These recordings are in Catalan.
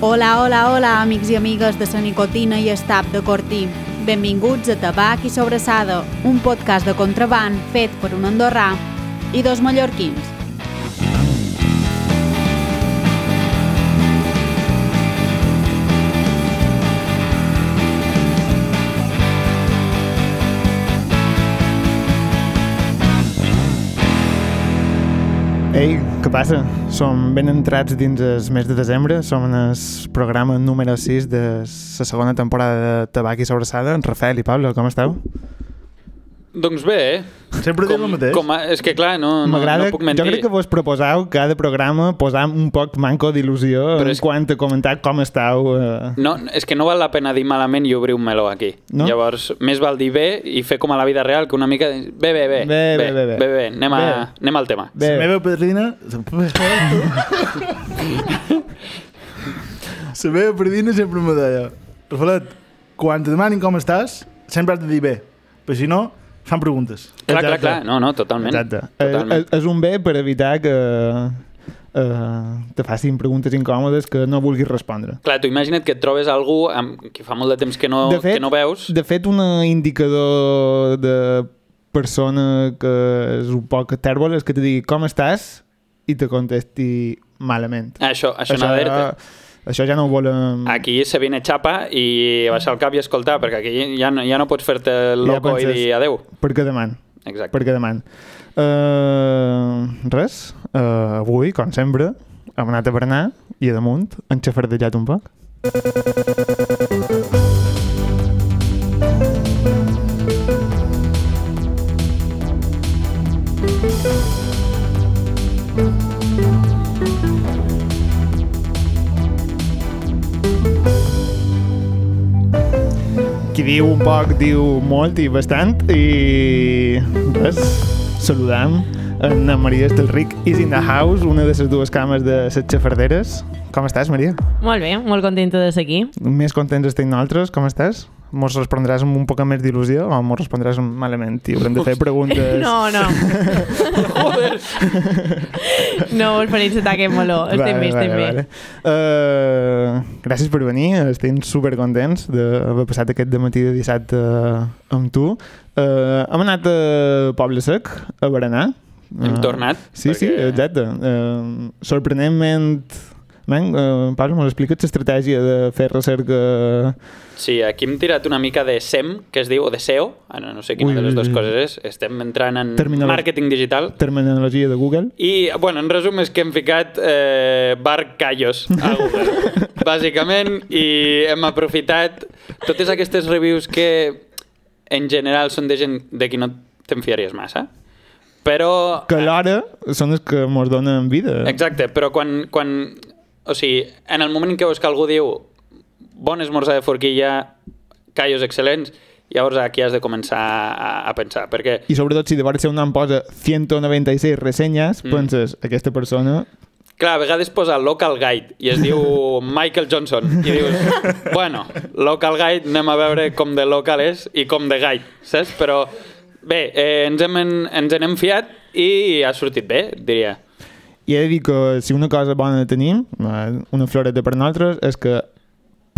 Hola, hola, hola, amics i amigues de la nicotina i estap de Cortí. Benvinguts a Tabac i Sobrassada, un podcast de contraband fet per un andorrà i dos mallorquins. Ei, què passa? Som ben entrats dins el mes de desembre, som en el programa número 6 de la segona temporada de Tabac i Sobrassada. En Rafael i Pablo, com esteu? Doncs bé, Sempre diu el mateix. com a, és que clar, no, no, no M'agrada, puc mentir. jo crec que vos proposeu cada programa posar un poc manco d'il·lusió Però en és- quant a comentar com esteu. Eh... No, és que no val la pena dir malament i obrir un meló aquí. No? Llavors, més val dir bé i fer com a la vida real, que una mica... de- Bé, bé, bé, Bé, bé, bé, bé. bé, bé, bé. Anem, a, Bé. anem al tema. Bé, La meva padrina... La meva padrina sempre me deia Rafalet, quan te demanin com estàs, sempre has de dir bé, perquè si no, fan preguntes. Clar, clar, Exacte. clar, no, no, totalment. exacte. Eh, Totalment. eh, és un bé per evitar que eh, te facin preguntes incòmodes que no vulguis respondre. Clar, tu imagina't que et trobes algú amb qui fa molt de temps que no, de fet, que no veus. De fet, un eh, indicador de persona que és un poc tèrbol és que te digui com estàs i te contesti malament. Això, això, això... anava a dir això ja no ho volem... Aquí se viene xapa i baixar el cap i escoltar, perquè aquí ja no, ja no pots fer-te el Ja loco ja penses- i dir adeu. Perquè deman, Exacte. perquè deman. Uh, res, uh, avui, com sempre, hem anat a berenar i a damunt hem xafardejat un poc. qui diu un poc diu molt i bastant i res, saludam en Maria Estelric is in the house, una de les dues cames de set xafarderes. Com estàs, Maria? Molt bé, molt contenta de ser aquí. Més contents estem nosaltres, com estàs? Mos respondràs amb un poc més d'il·lusió o mos respondràs malament i haurem de fer preguntes... No, no. Joder! No us faré encetar aquest meló. Estem bé, estem bé. Uh, gràcies per venir, estem supercontents d'haver passat aquest matí de dissabte eh, amb tu. Uh, hem anat a Poble Sec a berenar. Hem Eh, tornat, Sí, perquè... sí, perquè- exacte. Uh, sorprenentment... Man, uh, Pablo, mos explica't l'estratègia de fer recerca... Sí, aquí hem tirat una mica de SEM, que es diu, o de SEO, ara no sé quina Ui, de les ui, dues ui. coses és, estem entrant en Terminolo- màrqueting digital, terminologia de Google. i, bueno, en resum és que hem ficat eh, bar callos a Google, bàsicament, i hem aprofitat totes aquestes reviews que en general són de gent de qui no te'n fiaries massa, però... Que alhora són els que mos donen vida. Eh. Exacte, però quan, quan... O sigui, en el moment en què veus que algú diu bon esmorzar de forquilla, callos excel·lents, llavors aquí has de començar a, a pensar, perquè... I sobretot si llavors el seu nom posa 196 ressenyes, mm. penses, aquesta persona Clar, a vegades posa local guide i es diu Michael Johnson i dius, bueno, local guide anem a veure com de local és i com de guide, saps? Però bé, eh, ens, hem, en- ens n'hem fiat i ha sortit bé, diria. I he de dir que si una cosa bona tenim, eh, una floreta per nosaltres, és que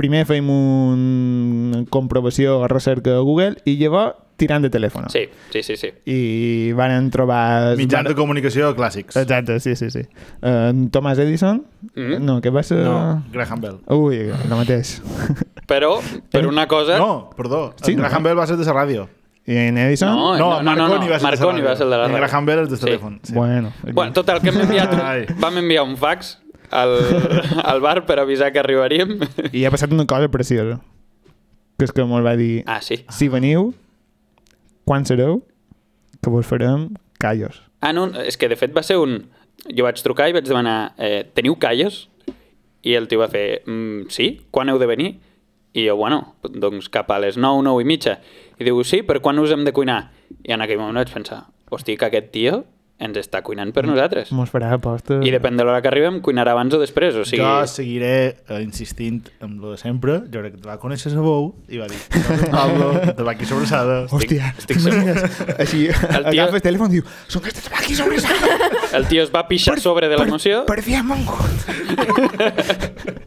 primer feim una comprovació o recerca a Google i llavors tirant de telèfon. Sí, sí, sí, sí. I van trobar... Mitjans de varen- comunicació clàssics. Exacte, sí, sí, sí. En Thomas Edison? Mhm. No, què va ser? No, Ah. Graham Bell. Ui, el mateix. Però, per una cosa... No, perdó. Sí, Sí, Graham no. Bell va ser de la ràdio. I en Edison? No, no, no, no, no. Marconi va ser el de la I ràdio. Graham Bell és de Sí. telèfon. Sí. Bueno. aquí. Bueno, total, que hem enviat Ai. un, vam enviar un fax al, al bar per avisar que arribaríem. I ha passat una cosa preciosa. Que és que molt va dir... Ah, sí. Si veniu, quan sereu, que vos farem callos. Ah, no, és que de fet va ser un... Jo vaig trucar i vaig demanar, eh, teniu calles? I el tio va fer, mm, sí, quan heu de venir? I jo, bueno, doncs cap a les 9, 9 i mitja. I diu, sí, per quan us hem de cuinar? I en aquell moment vaig pensar, hosti, que aquest tio ens està cuinant per nosaltres. Mos farà aposta. I depèn de l'hora que arribem, cuinarà abans o després. O sigui, Jo seguiré eh, insistint amb lo de sempre. Jo crec que te va conèixer la veu i va dir, Pablo, te va aquí sobressada. Hòstia, estic, estic segur. Així, El el tio- agafa el telèfon i diu «Són aquests tabaquis sobre la el tio es va pixar sobre de l'emoció. Per, per fi hem vengut.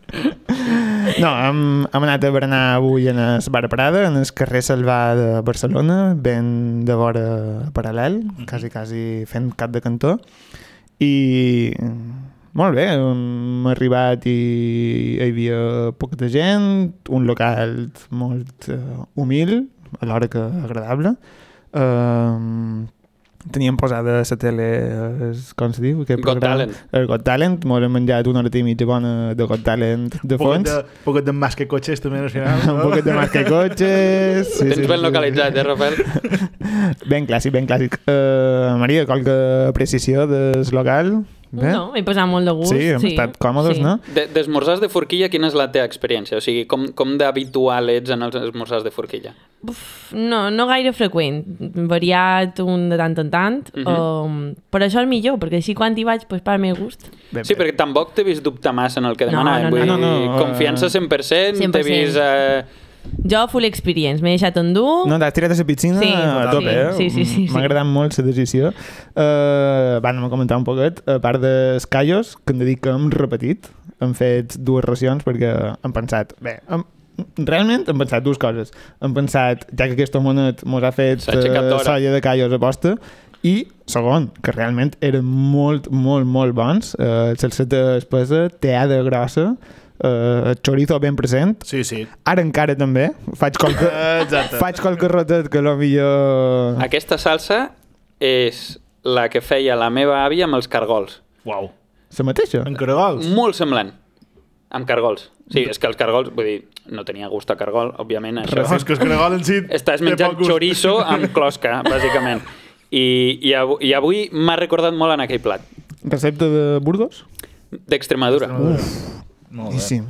no, hem, hem anat a berenar avui en el Bar Prada, en el carrer Salvà de Barcelona, ben de vora paral·lel, quasi, quasi fent cap de cantó. I molt bé, hem arribat i hi havia poca gent, un local molt eh, humil, alhora que agradable. Um, teníem posada la tele, eh, és- com se diu? Aquest Got programa? Talent. El Got Talent, m'ho hem menjat una hora i mitja bona de Got Talent de Un poquet fons. de, un poquet de masca cotxes també al final. Un poquet de marca cotxes... Sí, Tens ben localitzat, eh, Rafael? Ben clàssic, ben clàssic. Uh, Maria, qualque precisió del local? Bé? No, m'he posat molt de gust. Sí, hem estat còmodes, sí. no? De- D'esmorzars de forquilla, quina és la teva experiència? O sigui, com, com d'habitual ets en els esmorzars de forquilla? No, no gaire freqüent. Variat un de tant en tant. Mhm. um, però això és millor, perquè així quan hi vaig, doncs per al meu gust. Ben, Sí, perquè tampoc t'he vist dubtar massa en el que No, demanaven. no, no, Vull no. dir, No, no, confiança eh, 100%, 100%. t'he 100%. vist... Eh, Jo full experience, m'he deixat endur. No, t'has tirat a la piscina Sí, a tope, eh? sí, sí, sí, sí. M'ha agradat molt la decisió. Uh, van, m'ho comentar un poquet, a part dels callos, que hem de dir que hem repetit, hem fet dues racions perquè hem pensat... Bé, hem, realment hem pensat dues coses. Hem pensat, ja que aquest homonet mos ha fet S'ha aixecat eh, d'hora. solla de callos a posta, i segon, que realment eren molt, molt, molt bons. Uh, salseta espessa, teada grossa, uh, chorizo ben present, Sí, sí. Ara encara també. Faig qualque, faig qualque rotet que lo millor... Aquesta salsa és la que feia la meva àvia amb els cargols. Uau. La mateixa. En caragols. Molt semblant. Amb cargols. Sí, és que els cargols, vull dir, no tenia gust a cargol, òbviament, això. Però és que el caragol en si... Estàs té menjant poc gust. chorizo amb closca, bàsicament. I, i, avui, i avui m'ha recordat molt en aquell plat Recepta de Burgos? d'Extremadura. Uf. Molt bé. Boníssim.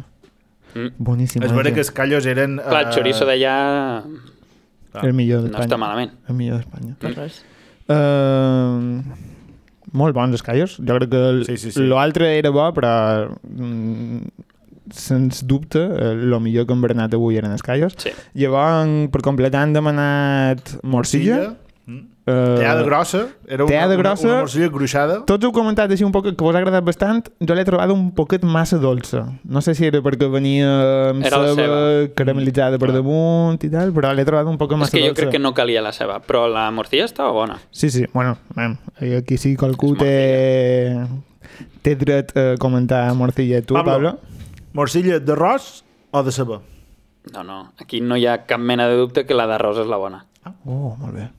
Mm. Boníssim. És vaja. veritat que els callos eren... eh, Clar, el chorizo d'allà El millor no d'Espanya. està malament. El millor d'Espanya. No res. Uh, molt bons els callos. Jo crec que el- Sí, sí, sí. l'altre era bo, però mm, sens dubte, el millor que hem berenat avui eren els callos. Sí. Llavors, per completar, han demanat morcilla. Mm. Eh, Teada grossa. Era una, Teada grossa. Una, una morcilla gruixada. Tots heu comentat així un poc que vos ha agradat bastant. Jo l'he trobat un poquet massa dolça. No sé si era perquè venia amb Era la ceba ceba. caramelitzada per damunt i tal, però l'he trobat un poc És massa que jo dolça. crec que no calia la ceba, però la morcilla estava bona. Sí, sí. Bueno, mem, aquí sí qualcú És té, té dret a comentar morcilla. Tu, Pablo? Pablo. Morcilla d'arròs o de ceba? No, no, aquí no hi ha cap mena de dubte que la d'arròs és la bona. Oh, molt bé.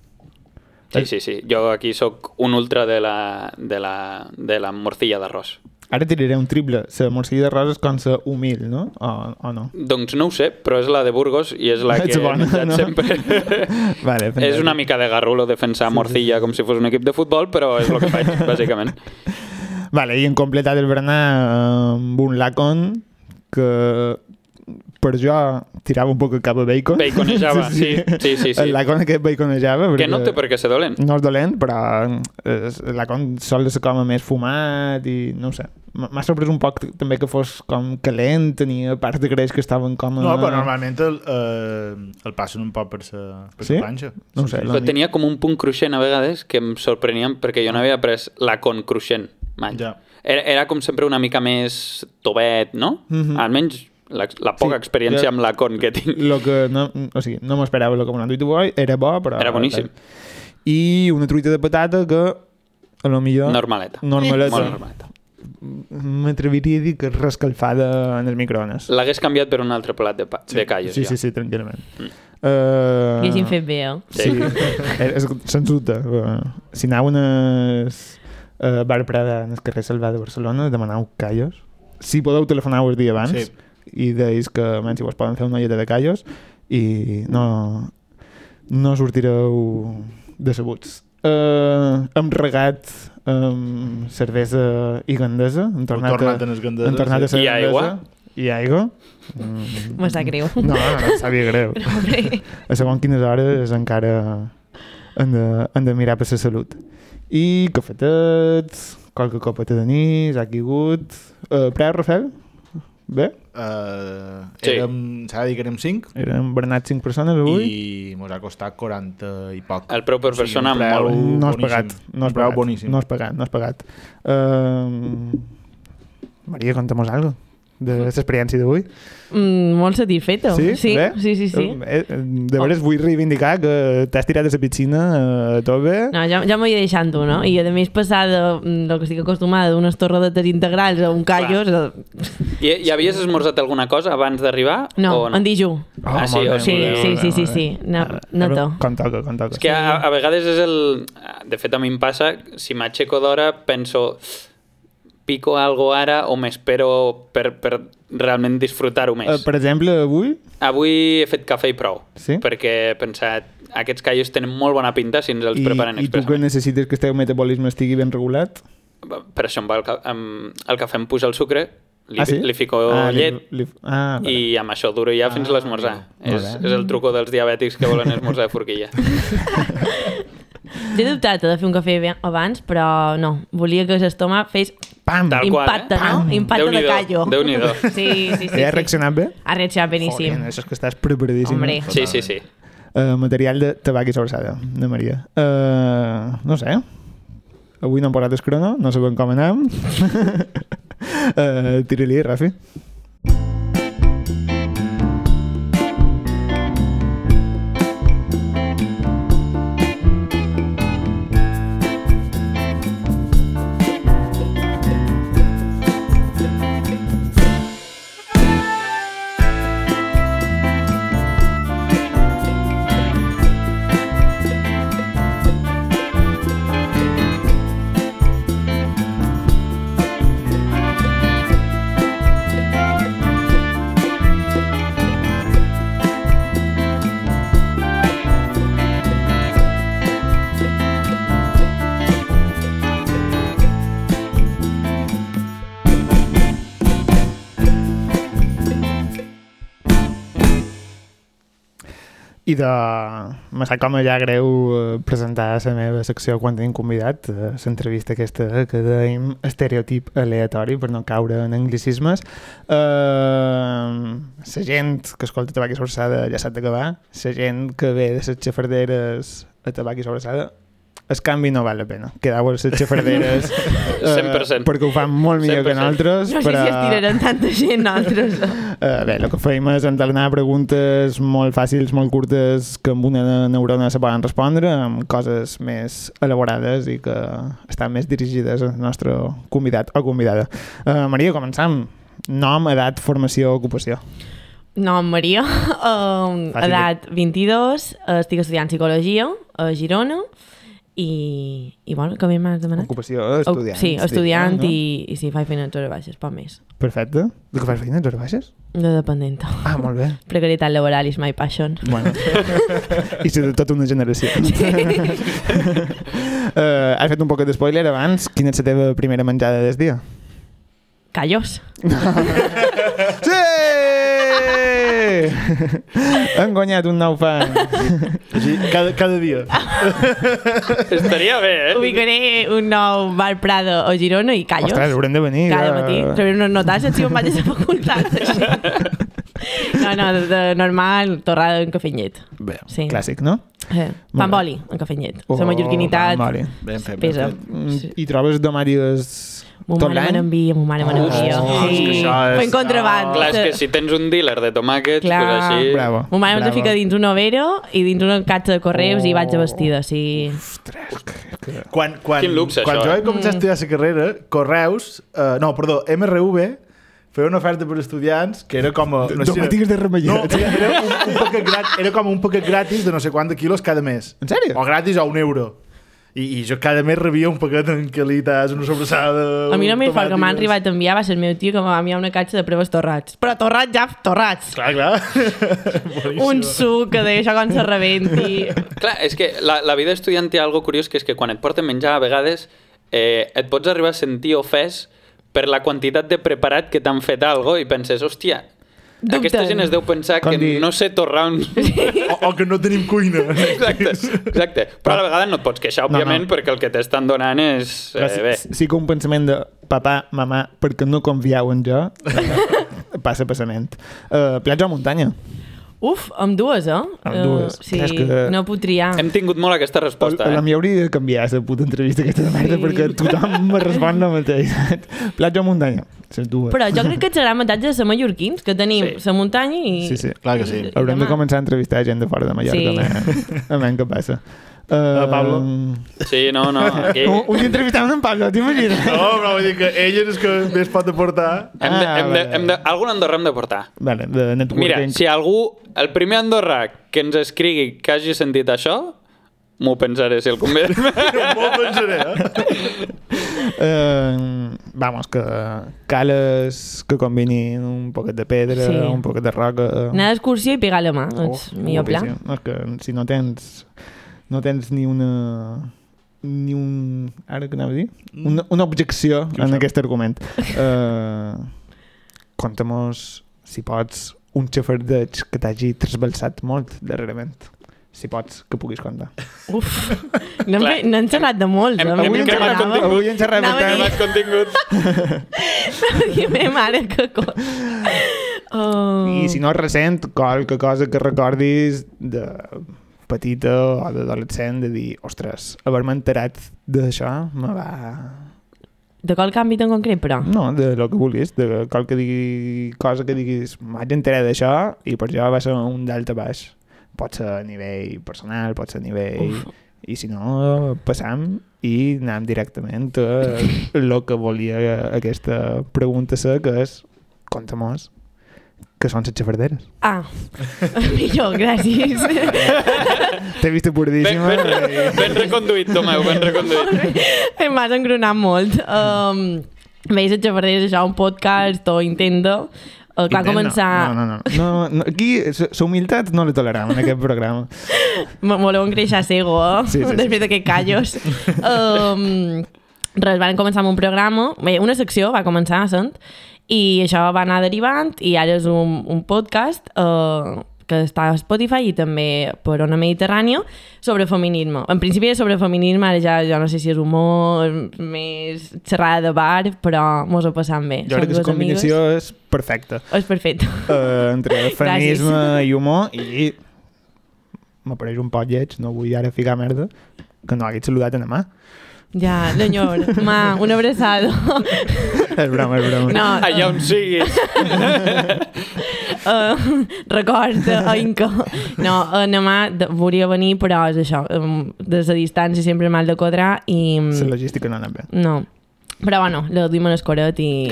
Sí, sí, sí. Jo aquí sóc un ultra de la, de la, de la morcilla d'arròs. Ara tiraré un triple. La morcilla de roses com la humil, no? O, o no? Doncs no ho sé, però és la de Burgos i és la que Ets bona, he menjat no? sempre. Vale, és fantàstic. una mica de garrulo defensar morcilla com si fos un equip de futbol, però és el que faig, bàsicament. Vale, i hem completat el berenar amb un lacon que per jo tirava un poc cap a bacon. Baconejava, sí, sí, sí, sí. El lacon aquest baconejava. Que no té per què ser dolent. No és dolent, però eh, el lacon sol ser com a més fumat i no ho sé. M- M'ha sorprès un poc t- també que fos com calent, tenia parts de greix que estaven com a... No, però normalment el, eh, el passen un poc per sa, per Sí? sa planxa. No ho sé, Però la mi- tenia com un punt cruixent a vegades que em sorprenien perquè jo no havia pres la con cruixent mai. Ja. Era, era com sempre una mica més tovet, no? Mhm. Almenys la, la poca Sí, experiència jo- amb la con que tinc. Lo que no, o sigui, no m'esperava el que m'han dit avui, era bo, però... Era boníssim. I una truita de patata que, a lo millor... Normaleta. Normaleta. Molt normaleta. M'atreviria a dir que rescalfada en els microones. L'hagués canviat per un altre plat de, pa, de callos. Sí, ja. sí, sí, tranquil·lament. Mm. Uh... Uh, Haguéssim fet bé, eh? Sí, Eh, és, sens dubte. eh, si anau a uh, Bar Prada en el carrer Salvà de Barcelona, demanau callos. Si podeu telefonar el dia abans Sí. i deis que man, si vos poden fer una lleta de callos i no, no sortireu decebuts. Uh, hem regat um, cervesa i gandesa. Hem tornat, tornat en es gandesa, Hem tornat a sí. ser I aigua. gandesa. I aigua. Mm, M'està greu. no, no, no, sabia greu. Pobre. A segons quines hores encara eh, hem de, hem de mirar per la salut. I cafetets, qualque copeta de nís, ha caigut... Uh, Preu, Rafael? Bé? Uh, Sí. érem, s'ha de dir que érem 5 Eren Bernat 5 persones avui? i mos ha costat 40 i poc. El preu per persona, un preu molt. No has boníssim. pagat. No has Un preu pagat. boníssim. No has pagat, no has pagat. Uh, Maria, conta'm algo de l'experiència d'avui. Mm, molt satisfeta. sí, Bé? sí, sí. sí. Eh, De veres vull reivindicar que t'has tirat de la piscina eh, a tope. No, ja, ja m'ho he deixant tu, no? I a més passar de mm, lo que estic acostumada d'unes torradetes integrals a un callos... eh, I, I havies esmorzat alguna cosa abans d'arribar? No, o no, en dijú. Ah, sí, o Sí, sí, sí, sí, sí. No, no to. Com toca, com toca. És que a, a vegades és el... De fet, a mi em passa, si m'aixeco d'hora, penso pico algo ara o m'espero per, per realment disfrutar-ho més. Eh, per exemple, avui, Avui he fet cafè i prou, Sí? perquè he pensat aquests callos tenen molt bona pinta si ens els i, preparen i tu que expressament. necessites que el teu metabolisme estigui ben regulat... Per això em va el, ca em, el cafè em puja el sucre, li, ah, sí? li fico ah, llet Li, li, ah, i vale. Ah, amb això duro ja fins a l'esmorzar. molt És, bé. és el truco dels diabètics que volen esmorzar de forquilla. He dubtat de fer un cafè bé abans, però no. Volia que l'estómac fes Pam! Tal qual, impacte, eh? no? Impacte de Déu-n'hi-do, callo. Déu-n'hi-do. Sí, sí, sí. Sí, sí. Has reaccionat bé? Ha reaccionat beníssim. Joder, això és que estàs preparadíssim. Hombre. Sí, sí, sí. Eh, material de tabac i sobrassada, de Maria. Eh, no sé. Avui no hem posat el crono, no sabem com anem. uh, Tira-li, Rafi. I de... Me sap com allà greu eh, presentar la meva secció quan tenim convidat, eh, l'entrevista aquesta que deim estereotip aleatori per no caure en anglicismes. Eh, la gent que escolta tabac i sobrassada ja sap d'acabar, la gent que ve de les xafarderes a tabac i sobrassada, el canvi no val la pena. Quedau a les xafarderes eh, 100%. perquè ho fan molt millor que 100%. nosaltres. No sé però- si estiraran tanta gent altres. Eh, bé, el que feim és entornar preguntes molt fàcils, molt curtes, que amb una neurona se poden respondre, amb coses més elaborades i que estan més dirigides al nostre convidat o convidada. Eh, Maria, començam. Nom, edat, formació, ocupació. No, Maria. Um, Fàcil. edat 22, eh, estic estudiant Psicologia a Girona i, i bueno, que més m'has demanat? Ocupació, Au- estudiant. Sí, estudiant no? i, i si faig feines hores baixes, poc més. Perfecte. El que fas feina, hores baixes? De dependenta. Ah, molt bé. Precarietat laboral is my passion. Bueno. I si de tota una generació. uh, has fet un poc de spoiler abans. Quina és la teva primera menjada del dia? Callos. Sí! Han guanyat un nou fan. Així, cada, cada dia. Ah. Estaria bé, eh? Ubicaré un nou bar Prado o Girona i callos. Ostres, haurem de venir. Cada ja. matí. Rebré unes notes si em vaig a la facultat. així. No, no, de, de normal, torrada en cafè amb llet. Bé, Sí. Clàssic, no? Eh, Molt pan bé. boli, en cafè amb llet. Oh, la mallorquinitat va, Vale. ben fet, ben pesa. fet. Mm, Sí. I trobes domàries Mon tot mare me l'any? n'envia, mon mare me n'envia. Oh, és que sí. això és- Fent contraband. Clar, és que si tens un dealer de tomàquets, Clar. pues així... Bravo. Mon mare me'ls bravo. fica dins una overa i dins una catxa de correus Oh. i vaig a vestida, sí. Quan, quan, Quin luxe, quan això, jo eh? vaig Mm. començar a estudiar la carrera, Correus, eh, no, perdó, MRV, feia una oferta per estudiants que era com... a- No sé si Domàtiques de No, Remellet. era, era un, un paquet gratis, era com un paquet gratis de no sé quant de quilos cada mes. En sèrio? O gratis o un euro. I, i jo cada mes rebia un paquet amb calitas, una Oh, sobrassada... A mi només pel que m'han tomàtiques. arribat a enviar va ser el meu tio que m'ha enviar una catxa de proves torrats. Però torrats ja, torrats! Clar, clar. Boníssim. Un suc que deia això quan se rebenti. Clar, és que la, la vida estudiant té algo curiós, que és que quan et porten menjar, a vegades eh, et pots arribar a sentir ofès per la quantitat de preparat que t'han fet algo i penses, hòstia, Dubten. Aquesta gent es deu pensar Com que dir- no sé torrar un... O, o que no tenim cuina. Exacte, exacte. Però a la vegada no et pots queixar, No, no. òbviament, perquè el que t'estan donant és... Eh, bé. sí, sí que un pensament de papà, mamà, perquè no confiau en jo, passa passament. Uh, platja o muntanya? Uf, amb dues, eh? Amb dues. Eh, sí, És que- no puc triar. Hem tingut molt aquesta resposta, La eh? mi hauria de canviar aquesta puta entrevista aquesta de merda Sí. perquè tothom me respon la mateixa. Platja o muntanya? Les dues. Però jo crec que serà avantatge de ser mallorquins, que tenim Sí. la muntanya i... Sí, sí. Clar que sí. i- i Haurem de demà. començar a entrevistar gent de fora de Mallorca. Sí. Sí. A veure què passa. Uh, Pablo? Sí, no, no, aquí... Un, un entrevistant amb en Pablo, t'imagines? No, però vull dir que ella és que més pot aportar. Hem de, Ah, hem de, vale. hem de, algun andorrà hem de portar. Vale, de Mira, networking. si algú, el primer andorrà que ens escrigui que hagi sentit això, m'ho pensaré si el convidem. Molt pensaré, eh? Eh, vamos, que cales que combinin un poquet de pedra, Sí. sí. un poquet de roca... Anar d'excursió i pegar la mà, Oh, doncs, millor pla. guapíssim. És que si no tens, no tens ni una ni un... ara què anava a dir? Una, una objecció Mm. Qui ho en sap? aquest argument. Uh, Conta-mos, si pots, un xafardeig que t'hagi trasbalsat molt darrerament. Si pots, que puguis contar. Uf, no hem, Clar. fe- no hem xerrat de molts. Hem- eh? hem Avui cremat xerràvem. contingut. avui en xerrem Anava a tant. dir- Més contingut. Perquè me mare que cor. Oh. I si no és recent, qualque cosa que recordis de petita o d'adolescent, de dir, ostres, haver-me enterat d'això me va... De qual canvi en concret, però? No, de lo que vulguis, de qualque digui, cosa que diguis, m'haig enterat d'això i per això va ser un delta baix. Pot ser a nivell personal, pot ser a nivell... Uf. I si no, passam i anem directament a lo que volia aquesta pregunta ser, que és, conta-mos, que són les xafarderes. Ah, millor, gràcies. T'he vist Ben, apuradíssima. ben, ben reconduït, Tomeu, ben reconduït. Em vas engrunar molt. Um, Veis a Xavardés, això, un podcast o intenta. Uh, clar, Intent, començar... No, no, no. no, no aquí la humilitat no la toleram en aquest programa. Me voleu engreixar cego, eh? Sí, sí, sí. Després d'aquest callos. um, res, van començar amb un programa, bé, una secció va començar, sent, i això va anar derivant, i ara és un, un podcast uh, que està a Spotify i també per Ona Mediterrània, sobre feminisme. En principi era sobre feminisme, ara ja, ja no sé si és humor, més xerrada de bar, però mos ho passam bé. Jo crec que la combinació és perfecta. Oh, És perfecte. Uh, entre Gràcies. feminisme i humor i m'apareix un pot lleig, no vull ara ficar merda, que no hagués saludat en mà. Ja, senyor, ma, una abraçada. És Eh, broma, és broma. No, Allà on siguis. Uh, record a Inca. No, eh, a Namà de- volia venir, però és això, em, des de distància sempre mal de quadrar i... mm, La logística no anem bé. No. Però bueno, lo duim en escoret i...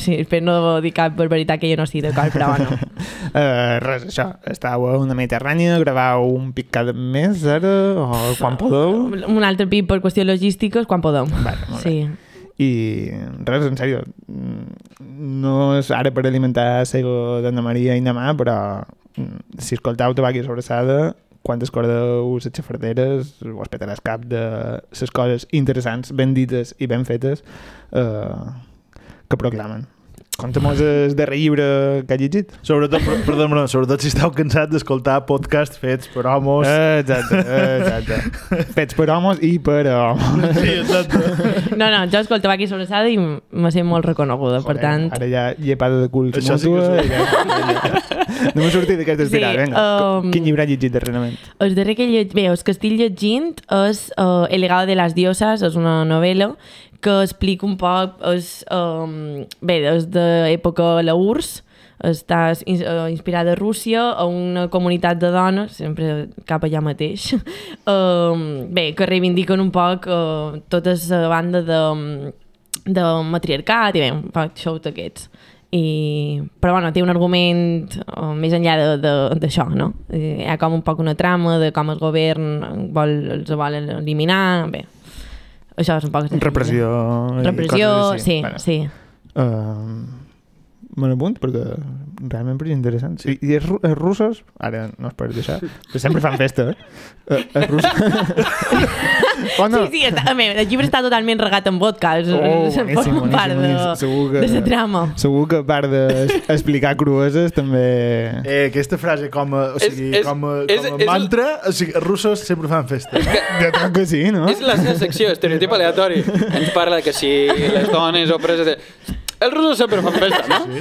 Sí, espero no dir cap barbaritat que jo no estic d'acord, però bueno. Uh, res, això, estàveu a una Mediterrània, gravau un pic cada mes, ara, o quan podeu, Un altre pit per qüestió logística és quan podem. Vale, molt bé. sí. I res, en sèrio, mm, no és ara per alimentar cego d'Anna Maria i Namà, però mm, si escoltau Tabaqui Sobressada, quan t'escordeu les xafarderes, ho espetaràs cap de les coses interessants, ben dites i ben fetes eh, que proclamen. Conta-mos el darrer llibre que has llegit. Sobretot, per- perdona, sobretot si esteu cansats d'escoltar podcasts fets per homes. Exacte, exacte. Fets per homes i per homes. Sí, exacte. No, no, jo escoltava aquí sobre Sada i m- me sent molt reconeguda, per Joder, tant... Ara ja llepada de culs Això Això sí que mútua. és Sí no m'he sortit d'aquesta Sí, estirada. Sí, Vinga, um, um... quin llibre has llegit darrerament? El darrer que, lleg... Bé, el que estic llegint és uh, El legado de las diosas, és una novel·la que explica un poc... És, um, bé, des de l'època la URSS, està ins- eh, inspirada a Rússia, a una comunitat de dones, sempre cap allà mateix, um, bé, que reivindiquen un poc uh, tota la banda de, de matriarcat i bé, un poc xous d'aquests. I... Però bueno, té un argument eh, més enllà de- de- d'això, no? Eh, Hi ha com un poc una trama de com el govern vol, els vol eliminar, bé. Això és un poc... Repressió. i Repressió, coses així. sí, Vale. sí. Uh, me l'apunt perquè realment és interessant. Sí. I, i els, ru- els Eh, russos, ara no es per deixar, però sempre fan festa, eh? Uh, els russos... O no? Sí, sí, està, a més, el llibre està totalment regat en vodka. És, Oh, és- boníssim, forma part boníssim, boníssim. Segur que- de, de la trama. Segur que a part d'explicar crueses també... Eh, aquesta frase com a, o És- sigui, és- com a, és- com és a el- mantra, o sigui, els russos sempre fan festa. Jo crec que sí, no? És la seva secció, estereotip aleatori. Ens parla que si les dones o preses... De... Els russos sempre fan festa, no? Sí,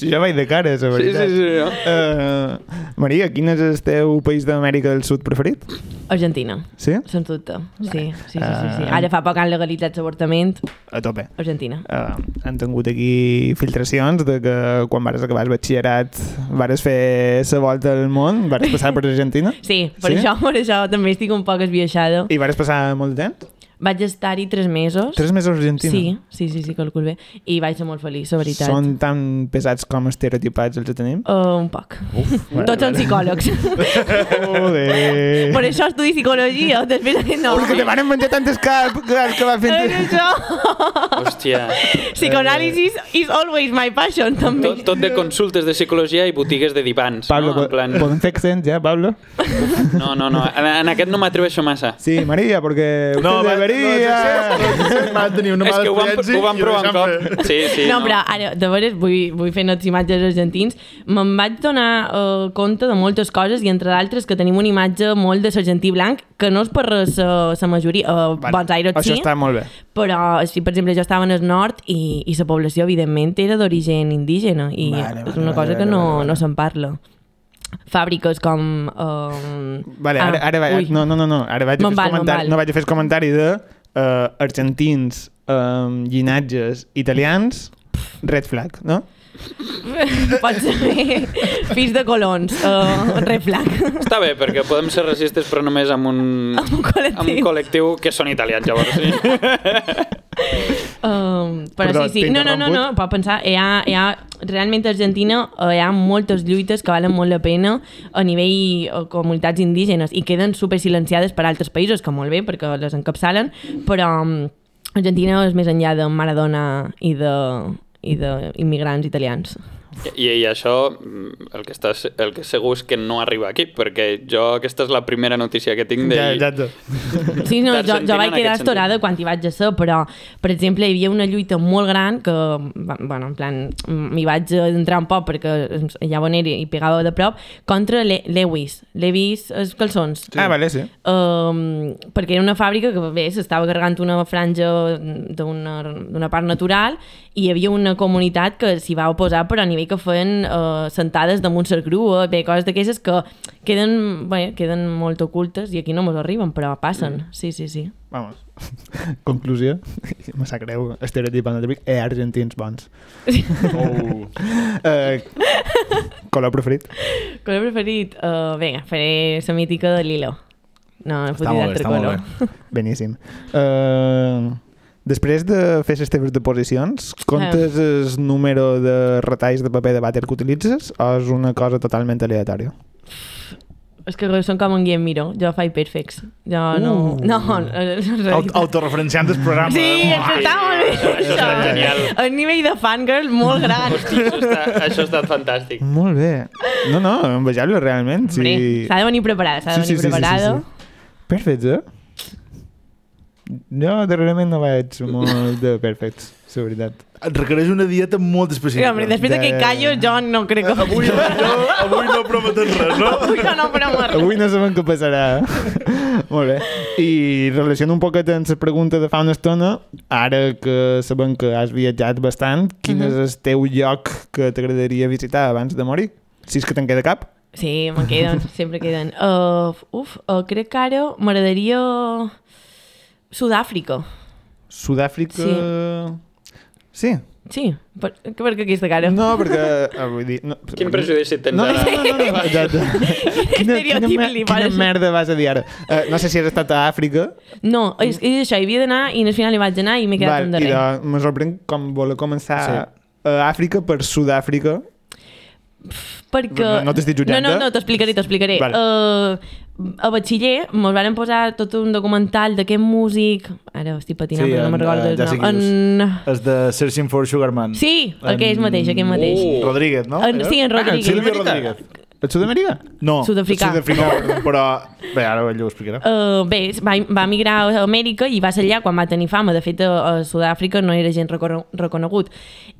Si jo vaig de cara, la sí, veritat. sí. sí no? Eh, Maria, quin és el teu país d'Amèrica del Sud preferit? Argentina, Sí? sens dubte. Sí, sí, sí, sí, sí. Eh, Ara fa poc han legalitzat l'avortament. A tope. Argentina. Uh, han tingut aquí filtracions de que quan vares acabar el batxillerat vares fer la volta al món, vares passar per Argentina Sí, per Sí? això, per això també estic un poc esbiaixada. i vares passar molt de temps? Vaig estar-hi tres mesos. Tres mesos a Argentina? Sí, sí, sí, sí, calcul bé. I vaig ser molt feliç, la veritat. Són tan pesats com estereotipats els que tenim? Uh, un poc. Uf, vale, Tots són vale. psicòlegs. Joder! per això estudi psicologia, després que no. Perquè te van menjar tantes cap que, que va Per fent... això. Hòstia. Eh. Psicoanàlisis is always my passion, també. Tot, tot de consultes de psicologia i botigues de divans. Pablo, no? En plan... podem fer accents ja, Pablo? no, no, no. En, en aquest no m'atreveixo massa. Sí, Maria, perquè... No, usted va, deberia... van tenir una És mala que ho van, experiència ho van i provar un deixant fer. cop. Sí, sí. no, però ara, de veres, vull, vull fer unes imatges argentins. Me'n vaig donar eh, compte de moltes coses i, entre d'altres, que tenim una imatge molt de l'argentí blanc, que no és per res la majoria. Uh, vale. Bons aires Això sí, està molt bé. però, eh, sí, per exemple, jo estava en el nord i, i la població, evidentment, era d'origen indígena i Vale, és vale, una vale, cosa que vale, no, vale, vale. no se'n parla. Fàbriques com... Um... Vale, ara, ara, ui. vaig, no, no, no, Ah, no, ara vaig a Me'n fer val, val, me'n comentari, val. no vaig a fer el comentari de uh, argentins, um, llinatges italians, red flag, no? Pot ser fills de colons, uh, red flag. Està bé, perquè podem ser racistes, però només amb un, Amb un col·lectiu. amb un col·lectiu que són italians, llavors. Sí. Um, però Perdó, sí, sí. t'he No, no, no, no, interromput. pot pensar, hi ha, hi ha, realment a Argentina eh, hi ha moltes lluites que valen molt la pena a nivell eh, comunitats indígenes i queden super silenciades per altres països, que molt bé, perquè les encapçalen, però um, Argentina és més enllà de Maradona i de i d'immigrants italians. I, I això, mm, el que, està, el que segur és que no arriba aquí, perquè jo aquesta és la primera notícia que tinc de... Ja, ja, ja. Sí, no, jo, d'Argentina jo vaig en quedar aquest estorada sentit. quan hi vaig a ser, però, per exemple, hi havia una lluita molt gran que, va- bueno, en plan, m'hi vaig entrar un poc perquè allà on era i pegava de prop, contra Le Lewis. Lewis, els calçons. Ah, vale, sí. Um, perquè era una fàbrica que bé, s'estava carregant una franja d'una d'una part natural i hi havia una comunitat que s'hi va oposar però a nivell que feien uh, sentades damunt la grua, bé, coses d'aquestes que queden, bé, queden molt ocultes i aquí no mos arriben, però passen Mm. sí, sí, sí. Vamos. Conclusió. Me sap greu. Estereotipant el eh, argentins bons. Oh. Eh, color preferit. Color preferit? Uh, vinga, faré la mítica de Lilo no, Està he fotut molt bé, d'altre està molt color bé. Beníssim. Eh, després de fer les teves deposicions, comptes Eh. el número de retalls de paper de vàter que utilitzes o és una cosa totalment aleatòria? és que són com en Guillem Miró, jo faig perfects jo no... Uh. no, no, no, no, Aut- Autoreferenciant el programa. eh? Sí, això està molt bé. Això està genial. El nivell de fangirl molt gran. Hosti, això, està, això ha estat fantàstic. Molt bé. No, no, envejable realment. Hombre, Sí. S'ha de venir preparada, s'ha de venir preparada. Perfecte. Jo darrerament no vaig molt de perfects, la veritat. Et requereix una dieta molt específica. Mira, hombre, després de que Ja, ja, callo, ja. jo no crec que... Avui, no, avui no prometem res, no? Avui jo no, però molt. Avui no sabem què passarà. molt bé. I relaciono un poquet amb la pregunta de fa una estona, ara que sabem que has viatjat bastant, quin Mhm. és el teu lloc que t'agradaria visitar abans de morir? Si és que te'n queda cap. Sí, me'n queden, sempre queden. Uh, uf, uh, crec que ara m'agradaria... Sud-àfrica. Sud-àfrica... Sí. Sí, per, per què aquesta cara? No, perquè... eh, Vull dir, no, Quin prejudici tens No, no, ara? no, no, no, no. Ja, ja. Quina, quina, Estereotip mer- li quina pareix. merda vas a dir ara? Uh, no sé si has estat a Àfrica. No, és, és això, hi havia d'anar i al final hi vaig anar i m'he quedat Val, en I darrere. de, me sorprèn com voler començar sí. a Àfrica per Sud-àfrica. perquè... No- no t'estic jutjant, No, no, eh? no, t'explicaré, t'explicaré. Vale. Vale. Uh, a batxiller mos van posar tot un documental d'aquest músic... Ara estic patinant, Sí, sí, però no en, me'n recordo eh, el ja sé nom. qui En... És de Searching for Sugar Man. Oh. Sí, aquell mateix, aquell mateix. Uh. Rodríguez, no? En, sí, en Rodríguez. Silvio Rodríguez. El Sud-amèrica? No. Sud-africà. Sud-africà, perdó. però... Bé, ara ell ho explicarà. Uh, bé, es va, va migrar a Amèrica i va ser allà quan va tenir fama. De fet, a, a Sud-àfrica no era gent recor- reconegut.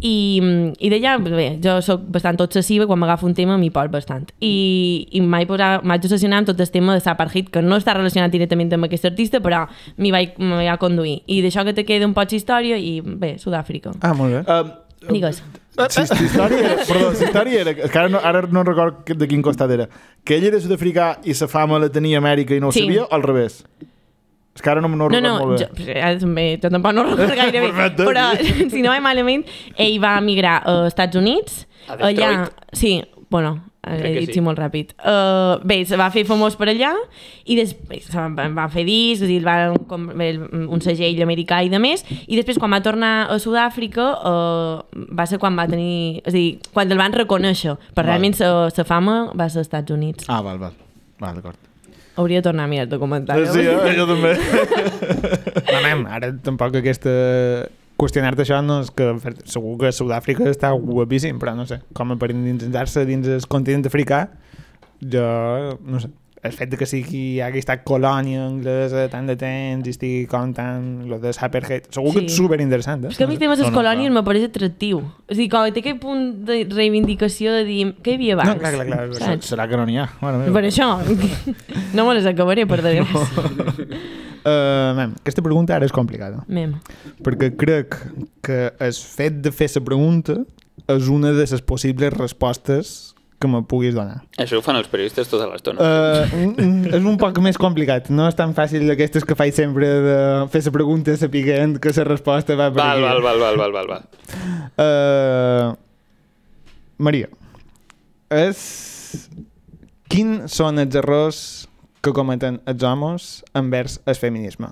I, i d'allà, bé, jo sóc bastant obsessiva, quan m'agafo un tema m'hi poso bastant. I, i mai posar, vaig obsessionar amb tot el tema de Saparhit, que no està relacionat directament amb aquest artista, però m'hi vaig, m'hi vaig conduir. I d'això que te queda un poc història i, bé, Sud-àfrica. Ah, molt bé. Um, Digues. si, si història era, perdó, si història era, és que ara no, ara no record que- de quin costat era, que ell era sud-africà i sa fama la tenia a Amèrica i no ho Sí. sabia, o al revés? És que ara no, no ho No, record no, molt jo, bé. pues, eh, ara també, jo tampoc no ho recordo gaire bé, Perfecte. però si no vaig malament, ell va emigrar a Estats Units. A Detroit. sí, bueno, Crec he que dit sí. sí. molt ràpid. Uh, bé, se va fer famós per allà i després se van, van fer discs, i van com, bé, un segell americà i de més, i després quan va tornar a Sud-àfrica uh, va ser quan va tenir... És a dir, quan el van reconèixer, però realment sa, sa fama va ser als Estats Units. Ah, val, val. Val, d'acord. Hauria de tornar a mirar el documental. Sí, eh, jo també. No, anem, ara tampoc aquesta... Qüestionar-te això no és que... Segur que Sud-àfrica està guapíssim, però no sé, com a per indinsar-se dins el continent africà, jo... no sé. El fet de que sigui, hagi estat colònia anglesa tant de temps i estigui comptant lo de Sapperhead, segur sí. que Sí. és superinteressant. Eh? És que a mi temes No, no, no, colònies clar. me pareix atractiu. O sigui, com té aquell punt de reivindicació de dir què hi havia abans. No, clar, clar, clar. Saps? Serà que no n'hi ha. Bueno, Per això, no me les acabaré, per desgràcia. Uh, mem, aquesta pregunta ara és complicada. Mem. perquè crec que el fet de fer la pregunta és una de les possibles respostes que me puguis donar. Això ho fan els periodistes tota l'estona. Uh, és un poc més complicat, no és tan fàcil aquestes que faig sempre de fer la pregunta sapiguent que la resposta va per val, aquí. val, val, val, val, val, val. Uh, Maria, és... quins són els errors que cometen els homes envers el feminisme?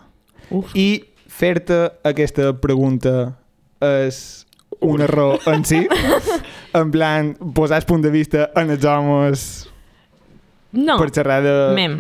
Uf. I fer-te aquesta pregunta és un error en si? en plan, posar el punt de vista en els homes No, per xerrar de mem.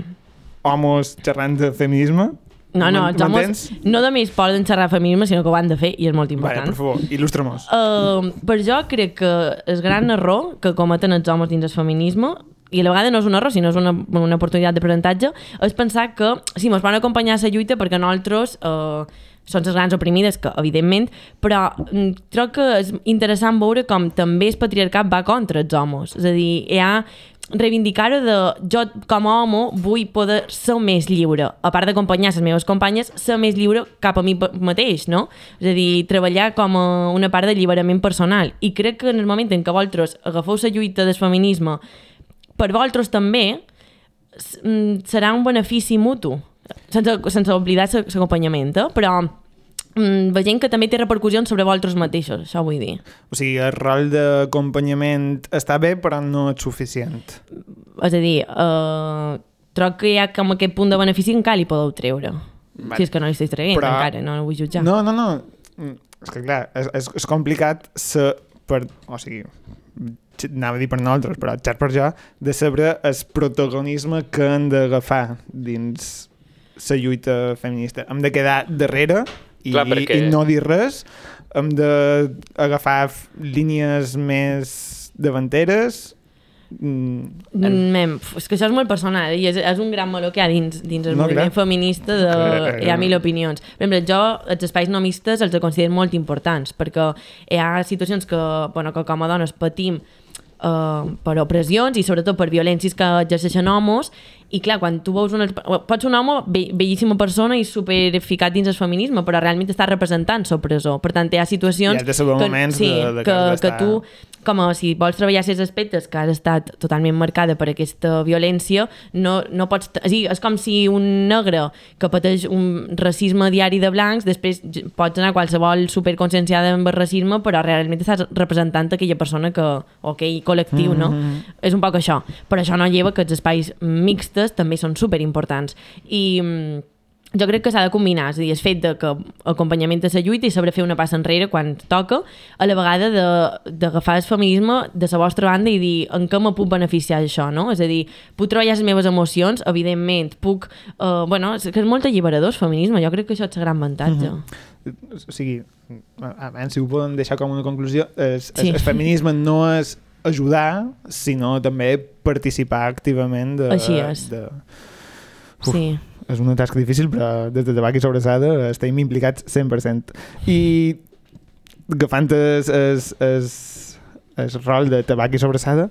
homes xerrant de feminisme? No, no, els homes M'entens? no només poden xerrar feminisme, sinó que ho han de fer, i és molt Vale, important. per favor, il·lustra-mos. Uh, per jo crec que el gran error que cometen els homes dins el feminisme i a la vegada no és un error, sinó és una, una oportunitat d'aprenentatge, és pensar que sí, ens van acompanyar a la lluita perquè nosaltres uh, són les grans oprimides, que evidentment, però mm, crec que és interessant veure com també el patriarcat va contra els homes. És a dir, hi ha reivindicar-ho de jo com a homo vull poder ser més lliure a part d'acompanyar les meves companyes ser més lliure cap a mi pe- mateix no? és a dir, treballar com a una part d'alliberament personal i crec que en el moment en què vosaltres agafeu la lluita del feminisme per vosaltres també s- mm, serà un benefici mutu sense, sense oblidar l'acompanyament eh? però mm, veient que també té repercussions sobre vosaltres mateixos això vull dir O sigui, el rol d'acompanyament està bé, però no és suficient. És a dir, uh, troc que hi ha com aquest punt de benefici que encara li podeu treure. Vale. Si és que no li estic traient Però- Però... encara, no, no vull jutjar. No, no, no. Mm, És que clar, és, és, és complicat ser per... O sigui, xi- anava a dir per nosaltres, però xat per jo, de saber el protagonisme que hem d'agafar dins la lluita feminista. Hem de quedar darrere i, Clar, perquè- i no dir res, hem d'agafar f- línies més davanteres, mm, Mm, mem, pf, és que això és molt personal eh, i és, és un gran meló que hi ha dins, dins el No, no, moviment clar. feminista Eh, de, eh, hi ha eh. mil opinions. Per exemple, jo els espais no mixtes els considero molt importants perquè hi ha situacions que, bueno, que com a dones patim uh, per opressions i sobretot per violències que exerceixen homos i clar, quan tu veus un... Pots ser un home be bellíssima persona i super ficat dins el feminisme, però realment està representant l'opressor. Per tant, hi ha situacions... Hi ha de saber moments sí, de- de que que, has que d'estar- tu com a si vols treballar aquests aspectes que has estat totalment marcada per aquesta violència, no, no pots... És, dir, és com si un negre que pateix un racisme diari de blancs, després j- pots anar a qualsevol superconscienciada amb el racisme, però realment estàs representant aquella persona que, o aquell col·lectiu, no? Mm-hmm. És un poc això. Però això no lleva que els espais mixtes també són superimportants. I... mm, jo crec que s'ha de combinar, és a dir, el fet de que acompanyament de la lluita i saber fer una passa enrere quan toca, a la vegada de- d'agafar el feminisme de la vostra banda i dir en què me puc beneficiar d'això, no? És a dir, puc treballar les meves emocions, evidentment, puc... Uh, bueno, és que és molt alliberador el feminisme, jo crec que això és el gran avantatge. Mm -hmm. o sigui, abans si ho podem deixar com una conclusió, el, sí. Sí. el, el feminisme no és ajudar, sinó també participar activament de... Així és. De... Sí. És una tasca difícil, però des de tabac i sobrassada estem implicats 100%. I agafant es, es, es, es rol de tabac i sobrassada,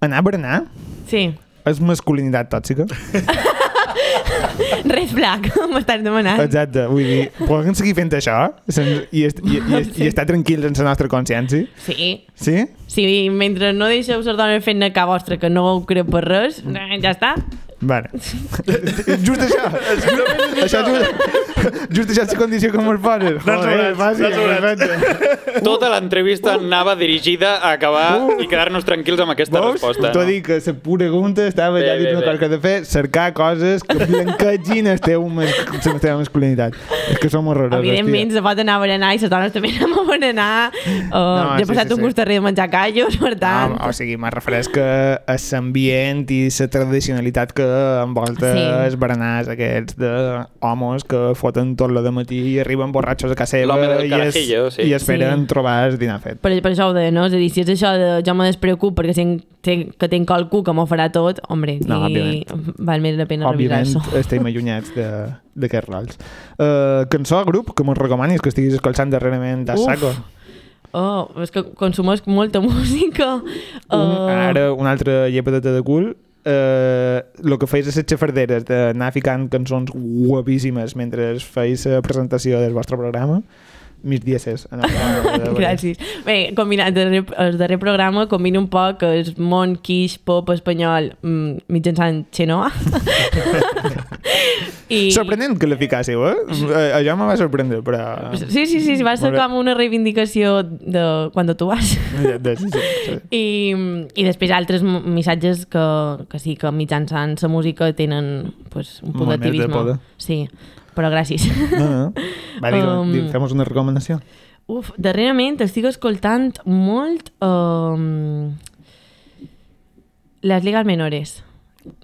anar a berenar Sí. és masculinitat tòxica. Red flag, m'estàs demanant. Exacte, vull dir, podem seguir fent això sen- i, est, i, i, i estar tranquils en la nostra consciència. Sí. Sí? Sí, mentre no deixeu les dones fent neca vostra, que no ho creu per res, eh, ja està. Vale. just això. això just, just això és la condició que me'l poses. Joder, sobrats, fàcil, n'has sobrats. perfecte. Tota l'entrevista anava dirigida a acabar i quedar-nos tranquils amb aquesta Veus? resposta. T'ho dic, que la pregunta estava Bé, ja dit bé, una bé. cosa que he de fer, cercar coses que blanquegin el teu mas- la teva masculinitat. És que som horrorosos, Evidentment, tia. se pot anar a berenar i les dones també anem a berenar. Uh, no, No, jo he sí, passat sí, un sí. gust darrere de menjar callos, per tant... Ah, o sigui, me refresca a l'ambient i la tradicionalitat que envolta Sí. sí. els berenars aquests de homes que foten tot lo de matí i arriben borratxos a casa seva L'home del i, carajillo, sí. i esperen Sí. sí. trobar el dinar fet. per, per això ho deia, no? És a dir, si és això de jo me despreocup perquè tinc, tinc, que tinc qualcú que m'ho farà tot, home, No, i val més la pena Òbviament revisar això. estem allunyats de- d'aquests rols. Uh, cançó, grup, que mos recomanis que estiguis escoltant darrerament a Uf. saco. Oh, és que consumos molta música. Un, Eh, Ara una altra llepadeta de cul. Uh, el que feis a les xafarderes d'anar ficant cançons guapíssimes mentre feis la presentació del vostre programa mis dieces. en el programa de- Gràcies. Bé, combinat el darrer, el darrer programa combina un poc el món quiche pop espanyol mm, mitjançant Xenoa. I... Sorprenent que la ficàssiu, eh? Eh, Allò me va sorprendre, però... Sí, sí, sí, sí, va ser Molt bé. com una reivindicació de quan tu vas. Ja, de- sí, sí, sí. I, I després altres m- missatges que, que sí, que mitjançant la música tenen pues, un punt Molt més de Ah. d'activisme. poda. Sí, però gràcies. No, no. Va, digue, Um, um... fem una recomanació. Uf, darrerament estic escoltant molt um, Les Ligas Menores,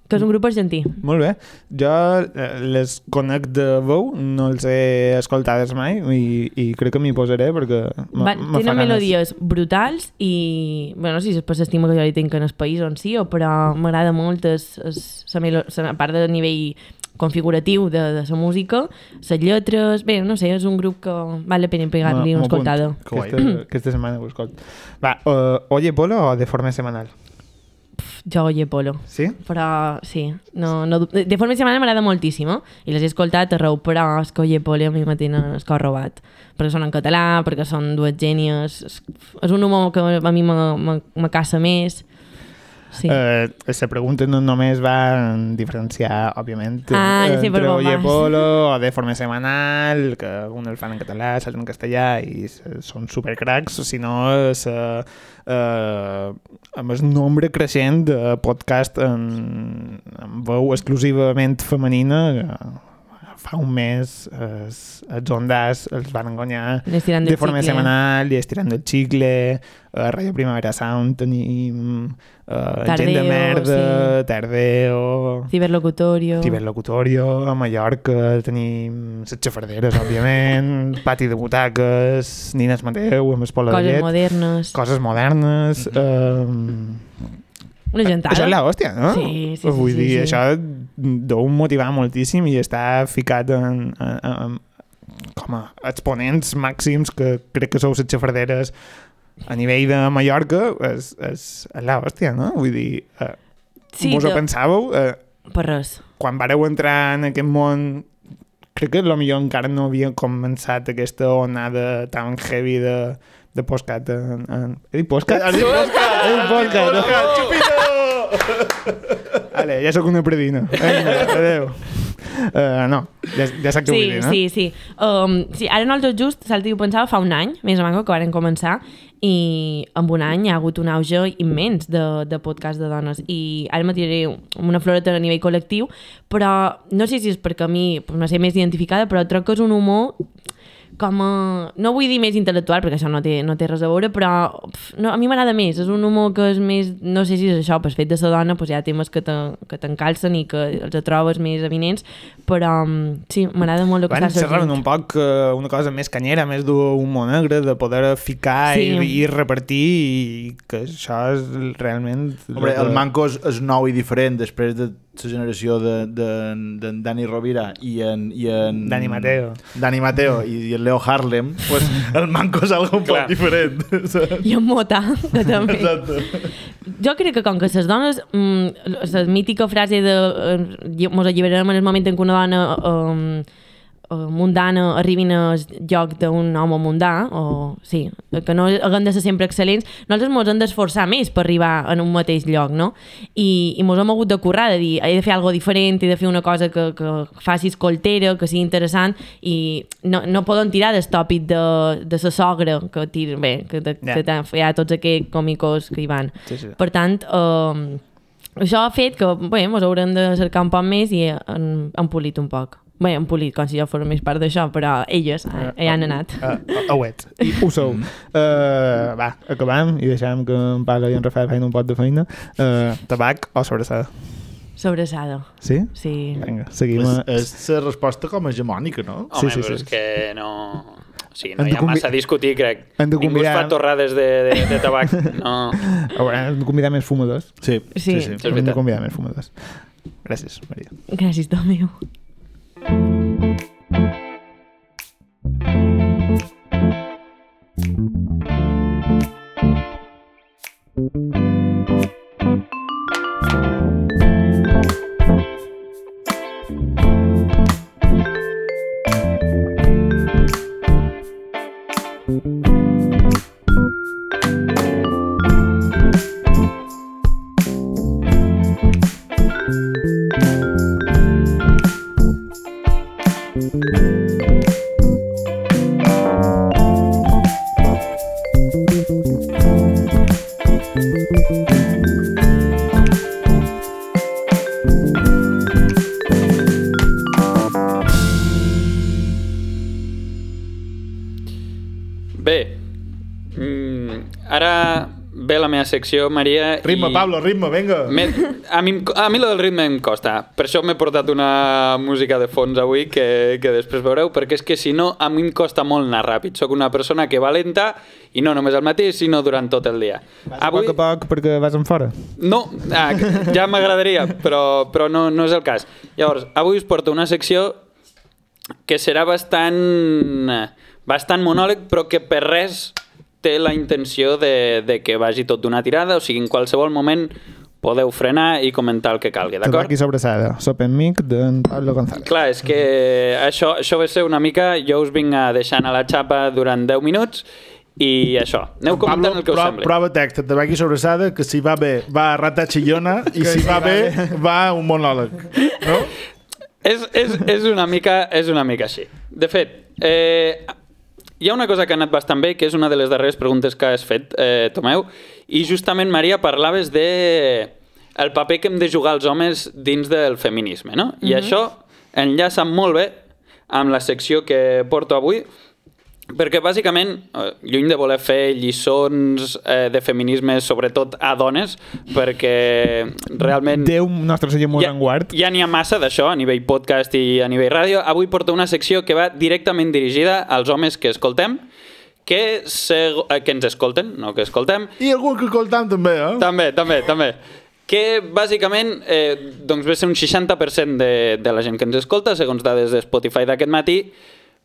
que és un grup argentí. Molt bé. Jo eh, les conec de veu, no les he escoltades mai i, i crec que m'hi posaré perquè me- Va, me tenen fa ganes. melodies brutals i... Bueno, no sé si és per l'estima que jo li tinc en el país on sí, o però m'agrada molt es, es, sa melo, sa, a part del nivell configuratiu de, de la música, les lletres... Bé, no sé, és un grup que val la pena pegar-li M'ho- una m'ho escoltada. apunto. Que guai. Aquesta, aquesta setmana ho escolto. Va, uh, Oye Polo o de forma semanal? Pff, Jo oye polo. Sí? Però sí, no, no, dub- de forma semanal m'agrada moltíssim, eh? i les he escoltat a raó, però és que oye polo a mi me tenen és que ho ha robat, perquè són en català, perquè són dues gènies, és, és un humor que a mi me- me me caça més. Sí. Eh, la pregunta no només va en diferenciar, òbviament, Ah, ja sé per entre on Oye vas. Polo o de forma semanal, que un el fan en català, l'altre en castellà, i s- són supercracs, o si no, és, eh, eh, amb el nombre creixent de podcast en, en veu exclusivament femenina, eh, fa un mes els, els ondas els van guanyar Les tirant de del forma xicle. semanal i estirando el xicle a Radio Eh, Primavera Sound tenim uh, gent de Tardeo, merda sí. Tardeo Ciberlocutorio. Ciberlocutorio a Mallorca tenim les xafarderes òbviament pati de butaques Nines Mateu amb Espola de Coses Llet modernes. Mm-hmm. coses modernes mm -hmm. Una gentada. Això és l'hòstia, no? Sí, sí, sí, Vull sí, dir, sí. això deu motivar moltíssim i està ficat en, en, en, com a exponents màxims que crec que sou les xafarderes a nivell de Mallorca és, és l'hòstia, no? Vull dir, eh, Sí, vos ho de- pensàveu? Eh, Per res. quan vareu entrar en aquest món crec que potser encara no havia començat aquesta onada tan heavy de, de postcat en, en... He dit postcat? Has dit postcat! He dit postcat! no? Vale, ja sóc una predina. Vinga, adeu. Uh, no, ja, ja saps què vull Sí, dir, no? sí, sí. Um, sí. Ara no el tot just, salti ho pensava fa un any, més o menys, que varen començar, i amb un any hi ha hagut un auge immens de, de podcast de dones. I ara me tiraré una floreta a nivell col·lectiu, però no sé si és perquè a mi pues, me sé més identificada, però trobo que és un humor com a... No vull dir més intel·lectual, perquè això no té, no té res a veure, però pf, no, a mi m'agrada més. És un humor que és més... No sé si és això, pel fet de ser dona, doncs hi ha temes que te- que t'encalcen i que els trobes més eminents, però mm, sí, m'agrada molt el que Bueno, està xerraven sorgint. un poc eh, una cosa més canyera, més d'un humor negre, de poder ficar sí. i, Sí. i repartir i que això és realment... Hombre, lo que- el Manco és, és nou i diferent després de la generació de- de- d'en Dani Rovira i en... I en Dani Mateo. Dani Mateo i, i el Leo Harlem, pues, el Manco és algo un poc Clar. diferent. saps? I en Mota, que també... Exacte. Jo crec que com que les dones, mm, la mítica frase de eh, mos alliberarem en el moment en què una dona eh, eh, mundana arribin al lloc d'un home mundà, o sí, que no haguem de ser sempre excel·lents, nosaltres mos hem d'esforçar més per arribar en un mateix lloc, no? I, i mos hem hagut de currar, de dir, he de fer alguna diferent, he de fer una cosa que, que faci escoltera, que sigui interessant, i no, no poden tirar del tòpic de, de sa sogra, que, tir, bé, que, de, Ja. que tan- hi ha tots aquests còmicos que hi van. Sí, sí. Per tant, eh, això ha fet que bé, ens haurem de cercar un poc més i han, han polit un poc. Bé, han polit, com si jo fos més part d'això, però elles hi hi han anat. Uh, auet. I ho sou. Mm. Uh, va, acabam i deixem que en Paga i en Rafael feien un pot de feina. Uh, tabac o sobrassada? Sobressada, Sí? sí. Vinga, seguim. És, a- és la resposta com hegemònica, no? Home, Sí, sí, però sí. és que no... O sigui, no Hem hi de ha convi- massa a discutir, crec. Hem de Ningú es convidar- fa torrades de, de, de tabac. No. Haurem de convidar més fumadors. Sí, Sí. És Haurem de veritat. convidar més fumadors. Gràcies, Maria. Gràcies, Tomeu. Bé, mm, ara ve la meva secció, Maria. Ritme, i... Pablo, ritme, venga. Me, a, mi, em- a mi lo del ritme em costa. Per això m'he portat una música de fons avui que, que després veureu, perquè és que si no, a mi em costa molt anar ràpid. Soc una persona que va lenta, i no només al matí, sinó durant tot el dia. A poc a poc perquè vas en fora. No, ah, ja m'agradaria, però, però no, no és el cas. Llavors, avui us porto una secció que serà bastant, bastant monòleg, però que per res té la intenció de, de que vagi tot d'una tirada, o sigui, en qualsevol moment podeu frenar i comentar el que calgui, d'acord? Tabac i sobrassada. Sopa en mic d'en Pablo González. Clar, és que això, això va ser una mica... Jo us vinc a deixant a la xapa durant 10 minuts i això, aneu comentant el que us pro- sembli. prova text, et va aquí sobrassada, que si va bé va a rata xillona i si va bé va a un monòleg. No? és, és, és, una mica, és una mica així. De fet, eh, hi ha una cosa que ha anat bastant bé, que és una de les darreres preguntes que has fet, eh, Tomeu, i justament, Maria, parlaves de el paper que hem de jugar els homes dins del feminisme, no? I això enllaça molt bé amb la secció que porto avui, perquè bàsicament, eh, lluny de voler fer lliçons eh, de feminisme, sobretot a dones, perquè realment... Déu, nostre senyor molt Ja- en guard. Ja n'hi ha massa d'això a nivell podcast i a nivell ràdio. Avui porto una secció que va directament dirigida als homes que escoltem, que, seg- eh, que ens escolten, no que escoltem, I algun que escoltam també, eh? també, també, també. Que bàsicament eh, doncs ve a ser un 60% de, de la gent que ens escolta, segons dades de Spotify d'aquest matí,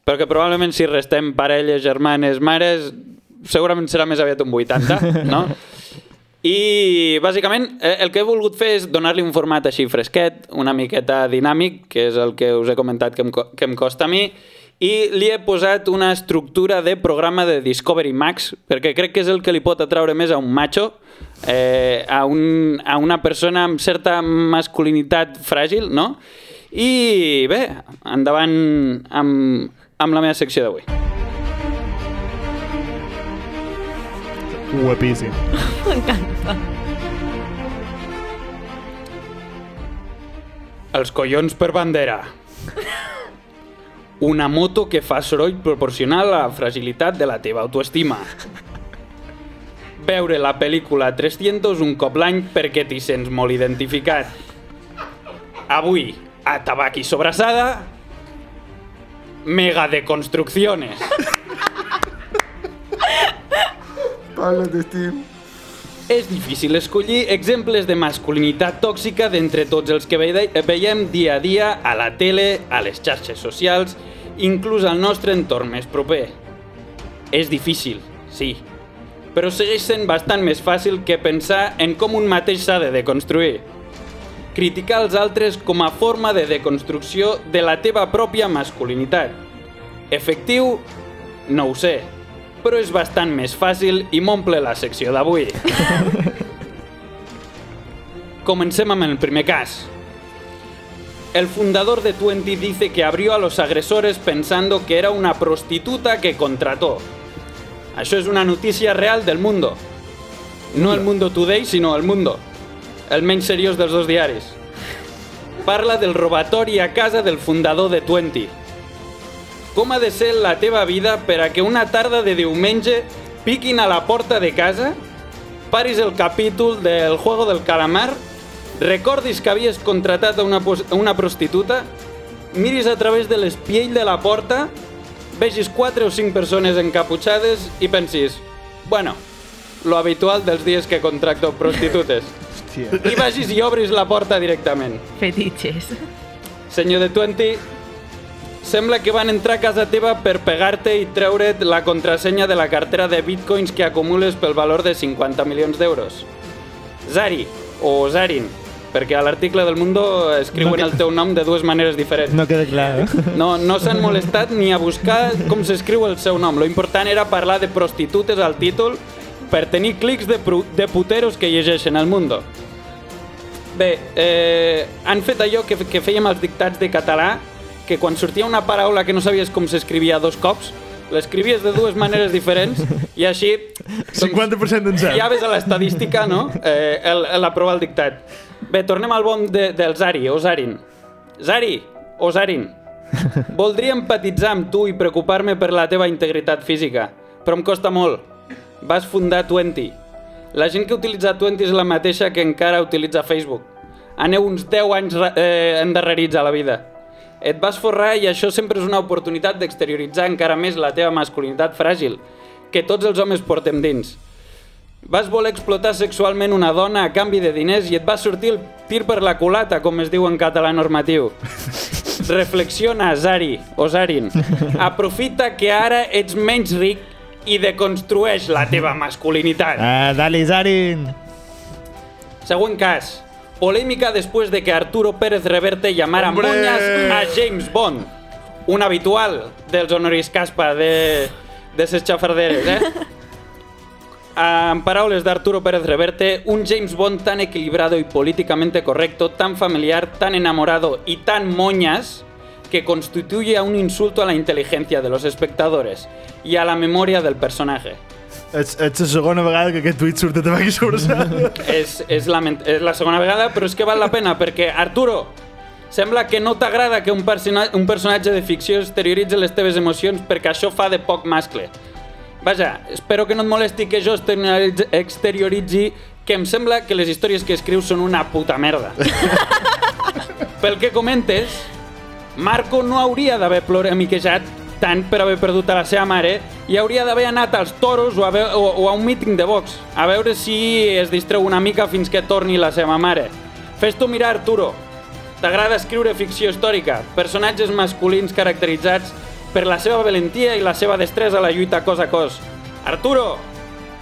però que probablement si restem parelles, germanes, mares, segurament serà més aviat un 80, no? I bàsicament eh, el que he volgut fer és donar-li un format així fresquet, una miqueta dinàmic, que és el que us he comentat que em, co- que em costa a mi, i li he posat una estructura de programa de Discovery Max, perquè crec que és el que li pot atraure més a un macho, eh, a, un, a una persona amb certa masculinitat fràgil, no? I bé, endavant amb, amb la meva secció d'avui. Guapíssim. Els collons per bandera. una moto que fa soroll proporcional a la fragilitat de la teva autoestima. Veure la pel·lícula 300 un cop l'any perquè t'hi sents molt identificat. Avui, a Tabac i Sobrassada, Mega de Construcciones. Pablo, t'estim. És difícil escollir exemples de masculinitat tòxica d'entre tots els que veide- veiem dia a dia a la tele, a les xarxes socials, inclús al nostre entorn més proper. És difícil, sí, però segueix sent bastant més fàcil que pensar en com un mateix s'ha de deconstruir. Criticar els altres com a forma de deconstrucció de la teva pròpia masculinitat. Efectiu? No ho sé, però és bastant més fàcil i m'omple la secció d'avui. Comencem amb el primer cas. El fundador de Twenty dice que abrió a los agresores pensando que era una prostituta que contrató. Això és una notícia real del Mundo. No el Mundo Today, sinó el Mundo. El menys seriós dels dos diaris. Parla del robatori a casa del fundador de Twenty. Com ha de ser la teva vida per a que una tarda de diumenge piquin a la porta de casa, paris el capítol del Juego del Calamar, recordis que havies contratat a una, pos- a una prostituta, miris a través de l'espiell de la porta, vegis quatre o cinc persones encaputxades i pensis, bueno, lo habitual dels dies que contracto prostitutes. Hòstia. I vagis i obris la porta directament. Fetitxes. Senyor de Twenty, sembla que van entrar a casa teva per pegar-te i treure't la contrasenya de la cartera de bitcoins que acumules pel valor de 50 milions d'euros. Zari, o Zarin, perquè a l'article del Mundo escriuen el teu nom de dues maneres diferents. No queda clar, eh? No, no s'han molestat ni a buscar com s'escriu el seu nom. Lo important era parlar de prostitutes al títol per tenir clics de, pru- de puteros que llegeixen al Mundo. Bé, eh, han fet allò que, que fèiem als dictats de català, que quan sortia una paraula que no sabies com s'escrivia dos cops, l'escrivies de dues maneres diferents i així... doncs, 50% d'encert. ja ves a l'estadística, no? Eh, el, el, la prova el dictat. Bé, tornem al bon de, del Zari, o Zarin. Zari, o Zarin. Voldria empatitzar amb tu i preocupar-me per la teva integritat física, però em costa molt. Vas fundar Twenty. La gent que utilitza Twenty és la mateixa que encara utilitza Facebook. Aneu uns 10 anys ra- eh, endarrerits a la vida. Et vas forrar i això sempre és una oportunitat d'exterioritzar encara més la teva masculinitat fràgil, que tots els homes portem dins. Vas voler explotar sexualment una dona a canvi de diners i et va sortir el tir per la culata, com es diu en català normatiu. Reflexiona, Zari, o Zarin. Aprofita que ara ets menys ric i deconstrueix la teva masculinitat. Ah, dale, Zarin! Següent cas. Polémica después de que Arturo Pérez Reverte llamara Hombre! moñas a James Bond. Un habitual dels honoris caspa de, de ses xafarderes, eh? En paraules d'Arturo Pérez Reverte, un James Bond tan equilibrado y políticamente correcto, tan familiar, tan enamorado y tan moñas que constituye un insulto a la inteligencia de los espectadores y a la memoria del personaje. Ets, ets la segona vegada que aquest tuit surt a tabac i sobrassada. És, és, lament... és la segona vegada, però és que val la pena, perquè, Arturo, sembla que no t'agrada que un, persona... un personatge de ficció exterioritzi les teves emocions perquè això fa de poc mascle. Vaja, espero que no et molesti que jo exterioritzi, exterioritzi que em sembla que les històries que escrius són una puta merda. Pel que comentes, Marco no hauria d'haver ploramiquejat tant per haver perdut a la seva mare i hauria d'haver anat als toros o a, ve o, o a un míting de box a veure si es distreu una mica fins que torni la seva mare. Fes-t'ho mirar, Arturo. T'agrada escriure ficció històrica, personatges masculins caracteritzats per la seva valentia i la seva destresa a la lluita cos a cos. Arturo,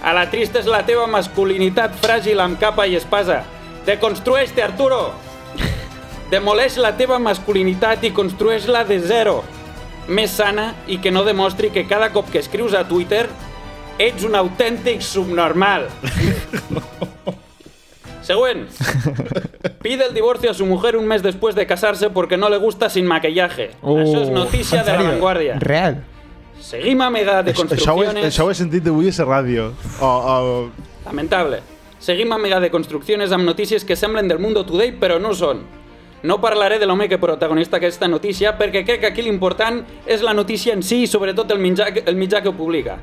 a la trista és la teva masculinitat fràgil amb capa i espasa. Deconstrueix-te, Arturo! Demoleix la teva masculinitat i construeix-la de zero. Més sana i que no demostri que cada cop que escrius a Twitter ets un autèntic subnormal. Següent. Pide el divorcio a su mujer un mes después de casarse porque no le gusta sin maquillaje. Oh, Això és notícia de la Vanguardia. Real. Seguim a mega de Això ho, he, construcciones. això ho he sentit d'avui a la ràdio. O, o... Lamentable. Seguim a mega de construcciones amb notícies que semblen del Mundo Today però no ho són. No parlaré de l'home que protagonista aquesta notícia perquè crec que aquí l'important és la notícia en si i sobretot el mitjà, que- el mitjà que ho publica.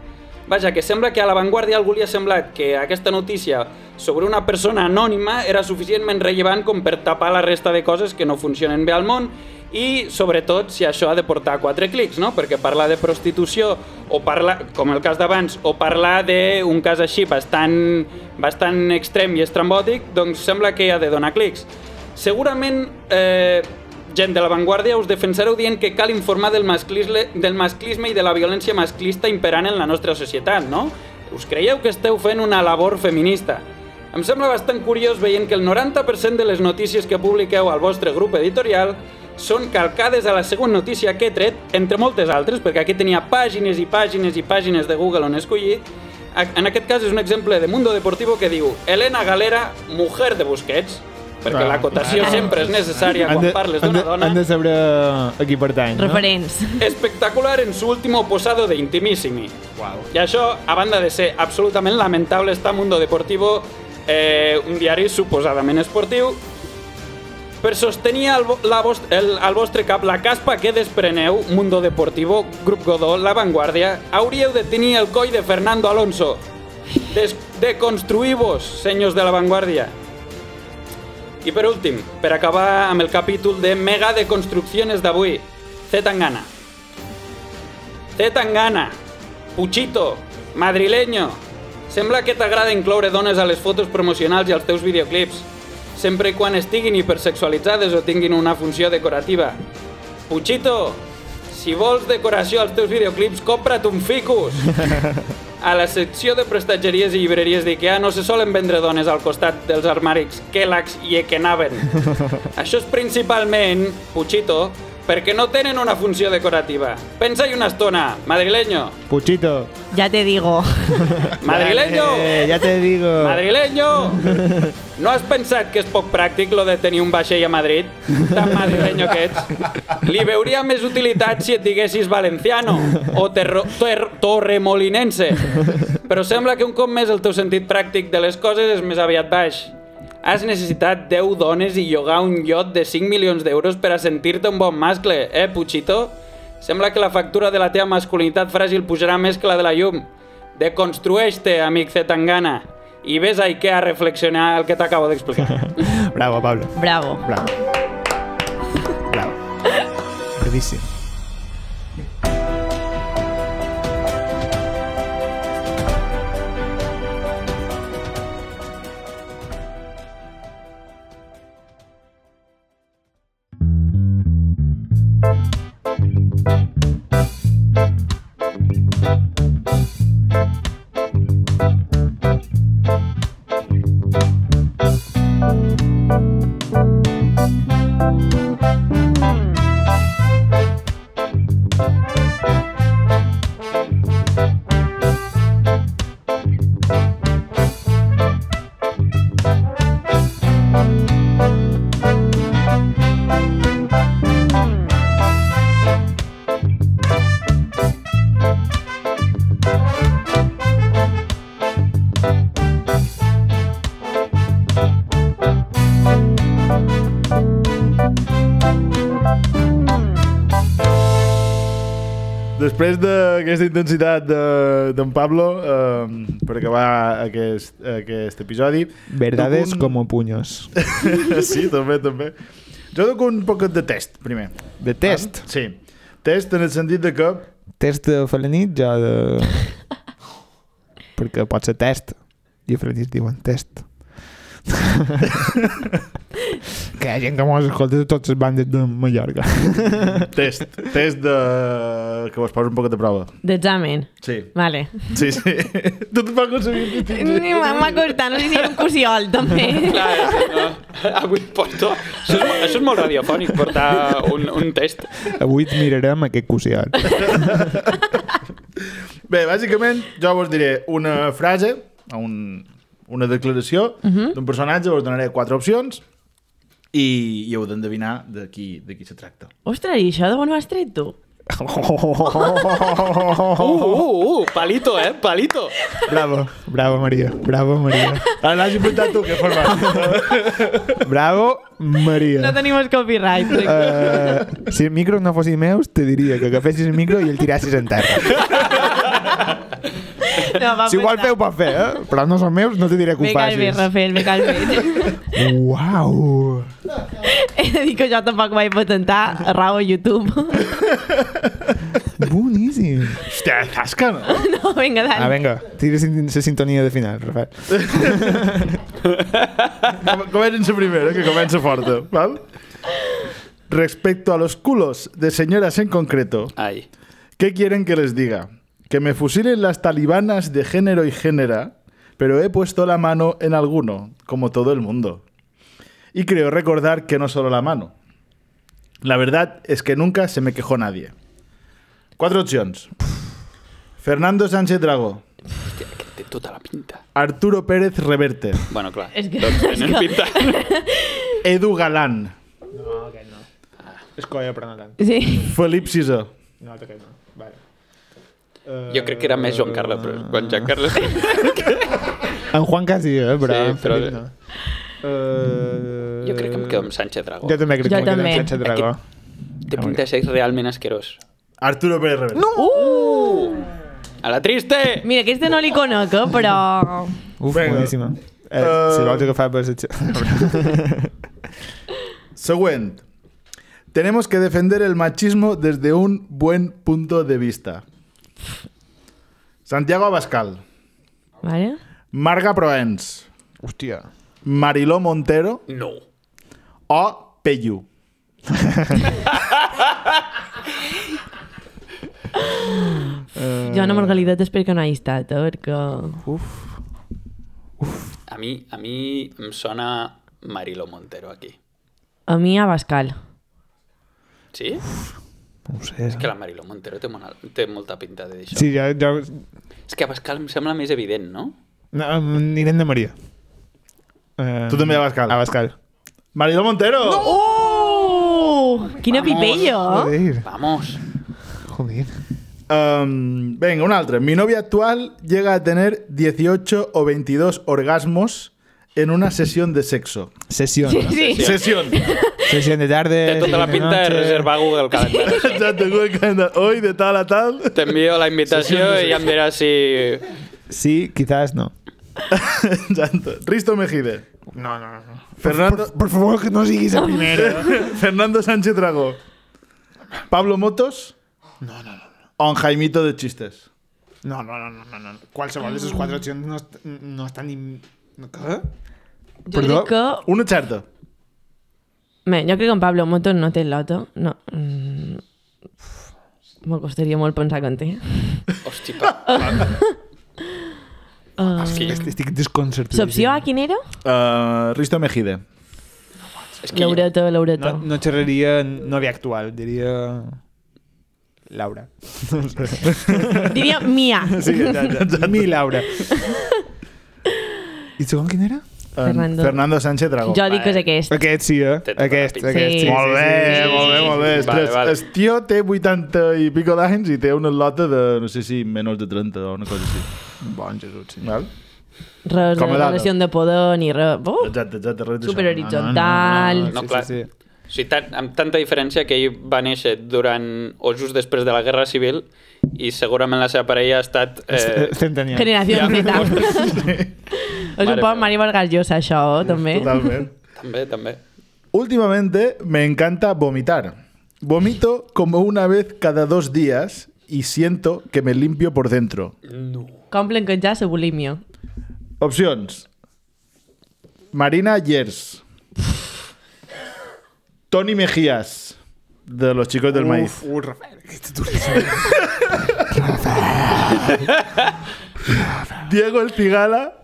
Vaja, que sembla que a La Vanguardia algú li ha semblat que aquesta notícia sobre una persona anònima era suficientment rellevant com per tapar la resta de coses que no funcionen bé al món i, sobretot, si això ha de portar quatre clics, no? Perquè parlar de prostitució o parlar, com el cas d'abans, o parlar d'un cas així bastant, bastant extrem i estrambòtic, doncs sembla que ha de donar clics. Segurament, eh, gent de la Vanguardia, us defensareu dient que cal informar del masclisme, del masclisme i de la violència masclista imperant en la nostra societat, no? Us creieu que esteu fent una labor feminista. Em sembla bastant curiós veient que el 90% de les notícies que publiqueu al vostre grup editorial són calcades a la següent notícia que he tret, entre moltes altres, perquè aquí tenia pàgines i pàgines i pàgines de Google on he escollit, a- en aquest cas és un exemple de Mundo Deportivo que diu Elena Galera, mujer de Busquets, perquè Ah, l'acotació clar. sempre és necessària Han quan de, parles han, de, d'una dona. han de saber a qui pertany, no? Referents. Espectacular en su último posado de Intimissimi. I això, a banda de ser absolutament lamentable, està Mundo Deportivo, eh, un diari suposadament esportiu, per sostenir al, vo- la vost, el, al vostre cap la caspa que despreneu, Mundo Deportivo, Grup Godó, La Vanguardia, hauríeu de tenir el coll de Fernando Alonso. Des, deconstruïu-vos, senyors de La Vanguardia. I per últim, per acabar amb el capítol de mega deconstrucciones d'avui, C. Tangana. C. Tangana, Puchito, madrileño. Sembla que t'agrada incloure dones a les fotos promocionals i als teus videoclips, sempre i quan estiguin hipersexualitzades o tinguin una funció decorativa. Puchito, si vols decoració als teus videoclips, compra't un ficus. A la secció de prestatgeries i llibreries d'IKEA no se solen vendre dones al costat dels armaris Kellogg's i Ekenaven. Això és principalment, Puchito, perquè no tenen una funció decorativa. Pensa-hi una estona, madrileño. Puchito. Ja te digo. Madrileño! Eh, ja te digo. Madrileño! No has pensat que és poc pràctic lo de tenir un vaixell a Madrid? Tan madrileño que ets. Li veuria més utilitat si et diguessis valenciano o terro, ter, torremolinense. Però sembla que un cop més el teu sentit pràctic de les coses és més aviat baix. Has necessitat 10 dones i llogar un iot de 5 milions d'euros per a sentir-te un bon mascle, eh, Puchito? Sembla que la factura de la teva masculinitat fràgil pujarà més que la de la llum. Deconstrueix-te, amic Zetangana, i ves a Ikea a reflexionar el que t'acabo d'explicar. Bravo, Pablo. Bravo. Bravo. Bravo. Bravíssim. Després d'aquesta intensitat de- d'en de, Pablo, eh, per acabar aquest, aquest episodi... Verdades toco como puños. sí, també, també. Jo dono un poquet de test, primer. De test. Val? Sí. Test en el sentit de que... Test de felanit, jo de... Perquè pot ser test. I a felanit diuen test. que hi ha gent que mos escolta de totes les bandes de Mallorca. Test. Test de... que vos posa un poquet de prova. D'examen. Sí. Vale. Sí, sí. tu et vas aconseguir que tingui. M'ha m'ha costat, no sé si era un cosiol, també. Clar, sí, no? Avui porto... Això és, això és molt radiofònic, portar un, un test. Avui et mirarem aquest cosiat. Bé, bàsicament, jo vos diré una frase, o un, una declaració uh -huh. d'un personatge, vos donaré quatre opcions i, i heu d'endevinar de qui, de qui se tracta. Ostres, i això d'on ho has tret tu? Oh, Uh, uh, uh, palito, eh? Palito. Bravo, bravo, Maria. Bravo, Maria. Ara Ah, l'has inventat tu, que forma. Bravo, Maria. No tenim el copyright. Uh... Eh, si el micro no fossin meus, te diria que agafessis el micro i el tirassis en terra. No, va Si ho vols pensar. fer, ho pots fer, eh? Però no són meus, no te diré que Me ho cal bé, facis. Rafael, me cal bé. Uau! He de dir que jo tampoc vaig patentar a raó a YouTube. Boníssim! Hòstia, tasca, no? No, vinga, Dani. Ah, vinga, tira sin- la sintonia de final, Rafael. Com- Comença la primera, que comença forta, val? Respecto a los culos de señoras en concreto, Ai. ¿qué quieren que les diga? Que me fusilen las talibanas de género y génera, pero he puesto la mano en alguno, como todo el mundo. Y creo recordar que no solo la mano. La verdad es que nunca se me quejó nadie. Cuatro opciones. Fernando Sánchez Drago, Hòstia, que té tota la pinta. Arturo Pérez Reverte, Bueno, clar. És que- Tots és tenen que- pinta. Edu Galán, És colla, però no tant. Sí. Felip Sisó, No, aquest no. Vale. Jo crec que era més Joan Carles, però quan Joan Carles... En Juan quasi, eh? Però, Sí, en però- Felip no. Eh, Jo crec que em quedo amb Sánchez Dragó. Jo també crec Jo que em quedo també. amb Sánchez Dragó. Té pinta de ser realment asquerós. Arturo Pérez Reverte. A la triste! Uh. Mira, aquesta no li conec, eh, però... Uf, Vinga. boníssima. Eh, Eh, Si vols agafar per... Següent. Tenemos que defender el machismo desde un buen punto de vista. Santiago Abascal, Vale? Marga Proens, Hòstia. Mariló Montero No. o Peyu. Jo no Margalida t'espero que no hi estat, eh, perquè... A mi, a mi em sona Marilo Montero aquí. A mi Abascal. Sí? No ho sé. És que la Marilo Montero té, mona, té molta pinta de d'això. Sí, jo... jo... És que a Pascal em sembla més evident, no? No, anirem de Maria. Eh, Tu també Abascal. Abascal. Mariló Montero! Oh! Quina Vamos. Oh? pipella, eh? Joder, Vamos. joder. Em, venga, una otra. Mi novia actual llega a tener 18 o 22 orgasmos en una sesión de sexo. Sessió. Sí, no? sí. Sesión. Sessió de tarda. Té tota la pinta de reservar Google Calendar. Exacto, Google Calendar. Hoy de tal a tal. T'envio la invitació i ja em diràs si... Sí, quizás no. Exacto. Risto Mejide. No, no, no. Fernando, Por favor, que no siguis el primer. Fernando Sánchez Drago. Pablo Motos. No, no, no. On Jaimito de chistes. No, no, no, no, no, no. Qualsevol de les quatre opcions no, est no estan ni... No, què? Jo Pues crec que... Una xerta. Bé, jo crec que en Pablo Motos no té loto. No. Mm. Me costaria molt pensar que en té. Hosti, pa... Uh, és que, Est- Estic desconcertat. L'opció A quina era? Uh, Risto Mejide. és que jo, Laureta, Laureta. No, no xerraria novia actual, diria... Laura. Diria Mia. Sí, ja, ja. Mi Laura. I segon quin era? Fernando. Fernando Sánchez Drago. Jo dic que és aquest. Aquest sí, eh? Té tota la Aquest, pinta. aquest. Sí. Molt bé, sí, molt bé, molt bé. Vale, Vale, vale. vale. El tio té 80 i pico d'anys i té una lota de, no sé si, menys de 30 o una cosa així. Bon Jesús, sí. Val? Res de Com a dada. relació de poder ni res. Oh, Exacte, exacte, res d'això. superhoritzontal. no, clar. o sigui, tan, amb tanta diferència que ell va néixer durant o just després de la Guerra Civil i segurament la seva parella ha estat... Eh, Centenial. Generació Ja. Z. És un Mare poc meva. Mari Vargas Llosa, això, eh, també. Totalment. també, també. Últimamente me encanta vomitar. Vomito como una vez cada dos días y siento que me limpio por dentro. Com blanquejar la bulímia. Opciones. Marina Yers. Tony Mejías. De los chicos del maíz. Uf, Rafael, que ets tu. Diego El Cigala.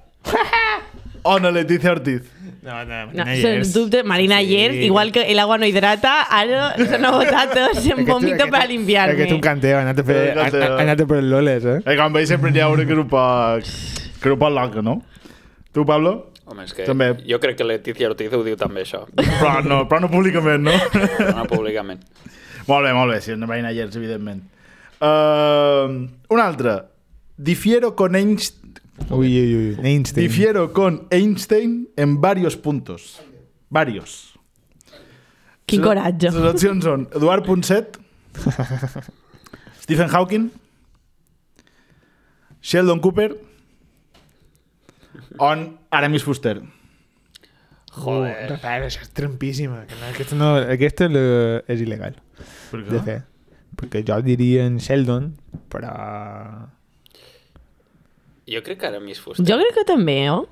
o no, Leticia Ortiz. No, no, No, Marina sens dubte, Marina Ayer, igual que el agua no hidrata, ara se no botata, se'n Aquest- vomito aquest- per limpiar-me. Aquest un canteo, ha anat a fer, Eh, un canteo. ha- ha anat a per el Loles, eh? Eh, com veig sempre hi ha un que era un poc... Que era un poc loco, no? Tu, Pablo? Home, és que També. jo crec que Letícia Ortiz ho diu també, això, Però no, però no públicament, no? però no públicament. Molt bé, molt bé, si no veien gens, evidentment. Uh, un altre. Difiero con Einstein, Ui, ui, ui. Einstein. difiero con Einstein en varios puntos. Varios. Quin coratge. Les opcions són Eduard Ponset, Stephen Hawking, Sheldon Cooper o Aramis Fuster. Joder. Rafael, això és trampíssima. que No, aquesta, no, aquesta le- és il·legal, Per de fer. Perquè jo diria en Sheldon, però... Jo crec que ara m'hi fusta. Jo crec que també, oh?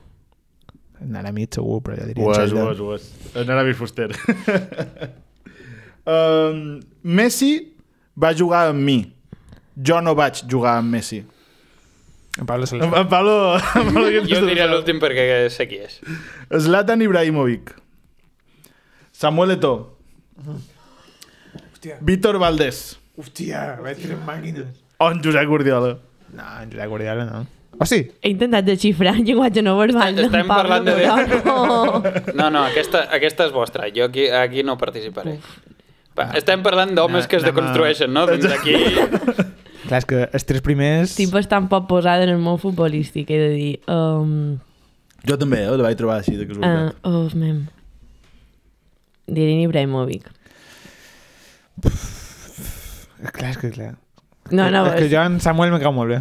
Anarà mig segur, però jo diria Ho en és, ho Sheldon. és, ho és. En Aramis Fuster. um, Messi va jugar amb mi. Jo no vaig jugar amb Messi. En Pablo se En, en Pablo... En Pablo què ens Jo diria pensava? l'últim perquè sé qui és. Zlatan Ibrahimovic. Samuel Eto'o. Hòstia. Víctor Valdés. Hòstia, vaig fer màquines. O en Josep Guardiola. No, en Josep Guardiola no. O sí? He intentat desxifrar en llenguatge no verbal. d'en estem Pablo parlant de- Morago. No, no, aquesta, aquesta és vostra. Jo aquí, aquí no participaré. Va, estem parlant d'homes Na- que es anem a- deconstrueixen, no? Doncs aquí... Clar, és que els tres primers... Estic bastant poc posada en el món futbolístic, he de dir. Um, Jo també, eh? La vaig trobar així de uh, casualitat. oh, mem. Diré Ibrahimovic. Clar, és que clar. No, no, és que jo en Samuel me cau molt bé.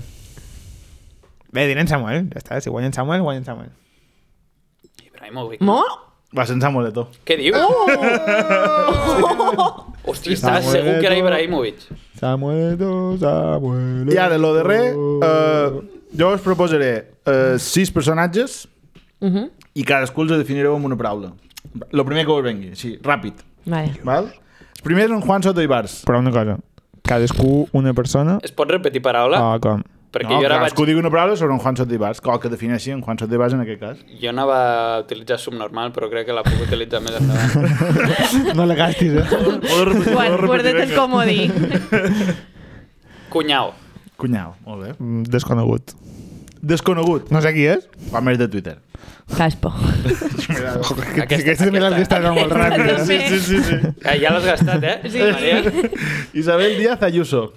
Bé, diré en Samuel, ja està. Si guanyen Samuel, guanyen Samuel. Ibrahimovic. Molt? Oh! Va ser en Samuel Eto'o. Què dius? Hòstia, estàs Samuel segur que era Eto'o. Ibrahimovic. Samuel, Samuel... I ara, lo de re, eh, jo us proposaré eh, sis personatges Uh -huh. i cadascú els definireu amb una paraula. Lo primer que us vengui, sí, ràpid. Vale. Val? Els primers són Juan Soto i Bars. Però una cosa, cadascú una persona Es pot repetir paraula? o com? Perquè jo ara cadascú vaig... digui una paraula sobre un Juan Soto i Bars, o que defineixi en Juan Soto i Bars en aquest cas. Jo anava a utilitzar subnormal, però crec que la puc utilitzar més endavant. No la gastis, eh? Ho he repetit, ho he Guard, repetit, guarda't el vinga. comodí. Cunyau. Cunyau, molt bé. Mm, Desconegut. Desconegut, No sé qui és. com és de Twitter. Caspo. Aquesta, aquesta me l'has gastat molt ràpid. També. Sí, sí, sí. Eh, ja l'has gastat, eh? Sí. Maria? Isabel Díaz Ayuso.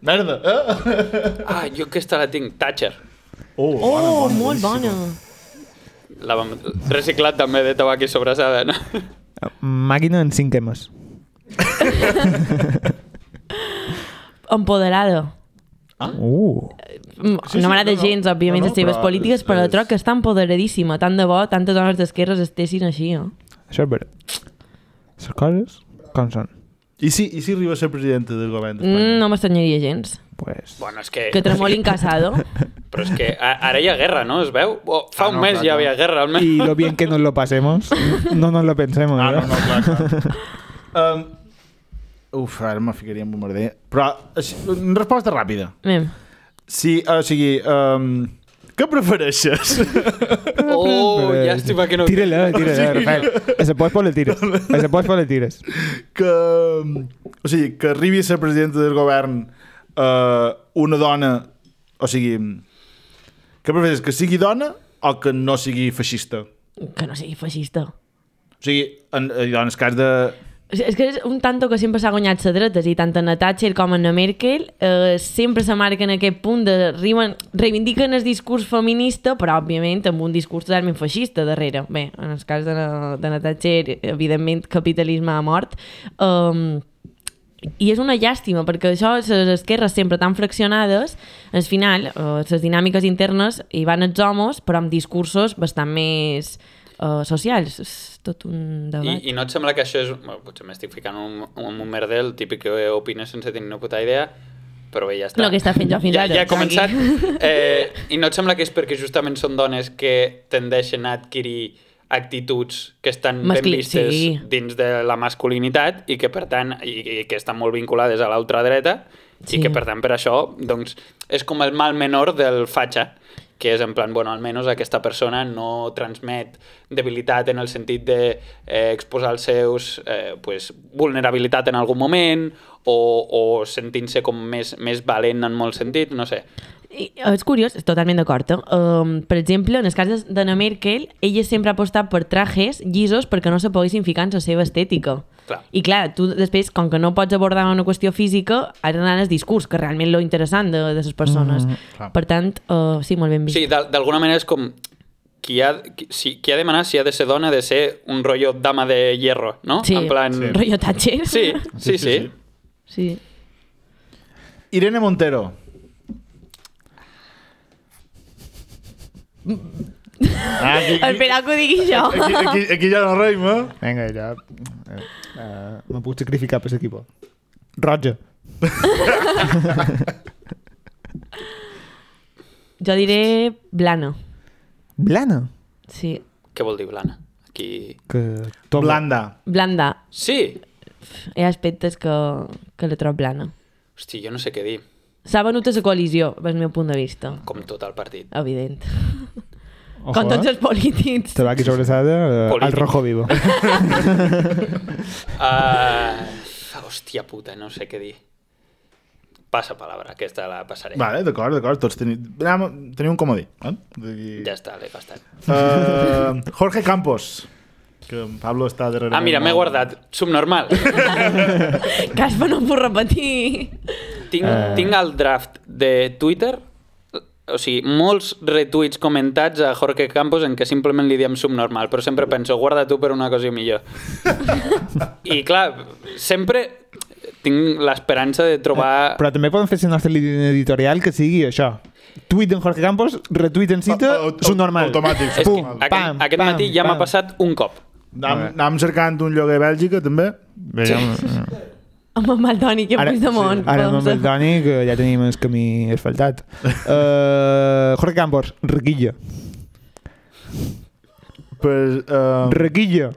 Merda. Eh? Ah, jo aquesta la tinc. Thatcher. Oh, Oh, molt bona. La vam... Reciclat també de tabac i sobrassada, no? Màquina en cinc temes. Empoderada. Uh. Mm, Sí, sí, no m'agrada no, no. gens, òbviament, No, no, les seves però polítiques, és- però és- troc que està empoderadíssima. Tant de bo tantes dones d'esquerres estessin així, eh? Això és veritat. Les coses com són. I si, I si arriba a ser presidenta del govern d'Espanya? Mm, no m'estranyaria gens. Pues... Bueno, és que... Que tremolin casado. Però és que a- ara hi ha guerra, no? Es veu? Oh, fa Ah, un no, mes ja clar, clar. havia guerra, almenys. Y lo bien que nos lo pasemos, no nos lo pensemos. eh? Ah, no, ¿verdad? no, clar, clar. um, uf, ara me ficaria en bombarder. Però, així, una resposta ràpida. Mem. Sí, o sigui, um, què prefereixes? Oh, eh, eh, llàstima que no... Tírela, tírela, Rafael. Ese post por le tires. Ese post por le tires. que, um, o sigui, que arribi a ser presidenta del govern eh, una dona, o sigui, que prefereixes que sigui dona o que no sigui feixista? Que no sigui feixista. O sigui, en, en el cas de... O sigui, És que és un tanto que sempre s'ha guanyat la dreta, i tant en la Thatcher com en la Merkel eh, sempre se marquen aquest punt de riuen, reivindiquen el discurs feminista, però òbviament amb un discurs totalment feixista darrere. Bé, en el cas de la, de la Thatcher, evidentment, capitalisme ha mort. Um, i és una llàstima, perquè això, les esquerres sempre tan fraccionades, al final, eh, les dinàmiques internes hi van els homes, però amb discursos bastant més eh, socials. És tot un debat. I, I no et sembla que això és... Bueno, potser m'estic ficant un, un, un merder, el típic que opina sense tenir una puta idea, però bé, ja està. Lo que està fent jo fins ja, ara, Ja ha començat. aquí. Eh, I no et sembla que és perquè justament són dones que tendeixen a adquirir actituds que estan Mascli- ben vistes sí. dins de la masculinitat i que per tant i, i que estan molt vinculades a l'altra dreta i Sí. que per tant per això doncs, és com el mal menor del fatxa que és en plan, bueno, almenys aquesta persona no transmet debilitat en el sentit de eh, exposar els seus eh, pues, vulnerabilitat en algun moment o, o sentint-se com més, més valent en molt sentit, no sé. I eh, és curiós, és totalment d'acord. Eh? Um, per exemple, en el cas de- d'Anna Merkel, ella sempre ha apostat per trajes llisos perquè no se poguessin ficar en la seva estètica. Clar. I clar, tu després, com que no pots abordar una qüestió física, has d'anar al discurs, que realment lo interessant de, de les persones. Mm, clar. per tant, uh, sí, molt ben vist. Sí, d'al- d'alguna manera és com... Qui ha, qui, si, qui ha de manar, si ha de ser dona, ha de ser un rotllo dama de hierro, no? Sí. En plan... Sí. Rollo Thatcher. Sí, sí, sí. sí, sí. sí. Irene Montero. Ah, aquí, Espera que ho digui jo. Aquí, aquí, aquí ya no reim, eh? Vinga, ja... Eh, eh, me puc sacrificar per l'equip. Roja. Jo diré blana. Blana. Sí. Què vol dir blana? Aquí... Que... Tot Blanda. Blanda. Sí! Hi ha aspectes que, que la trob blana. Hosti, jo no sé què dir. S'ha venut a la coalició, pel meu punt de vista. Com tot el partit. Evident. Ojo, eh. Com eh? tots els polítics. Tabac i sobressada, eh, al Polític. rojo vivo. Uh, hòstia puta, no sé què dir. Passa palabra, aquesta la passaré. Vale, d'acord, d'acord. Tots teniu, anem- teniu un comodí. Eh? Vull dir- Ja està, l'he gastat. Eh, Jorge Campos. Que en Pablo està darrere. Ah, mira, m'he guardat. Subnormal. Caspa, no puc repetir. Tinc, uh... tinc el draft de Twitter, o sigui, molts retuits comentats a Jorge Campos en què simplement li diem subnormal, però sempre penso, guarda tu per una cosa millor. I clar, sempre tinc l'esperança de Eh, trobar... Però també poden fer el nostre línia editorial que sigui això. Tuit d'en Jorge Campos, retuit en cita, Au- au- subnormal. automàtic, És que Pum, aquest, pam, aquest pam, matí ja m'ha pam. passat un cop. Anam, anam cercant un lloguer a Bèlgica, també. Bé, ja, Home, amb el Toni, que Ara- ara, Puigdemont. Ara no com amb el se- Dani, que ja tenim el camí asfaltat. Uh, Jorge Campos, requilla. Pues, eh, Requilla.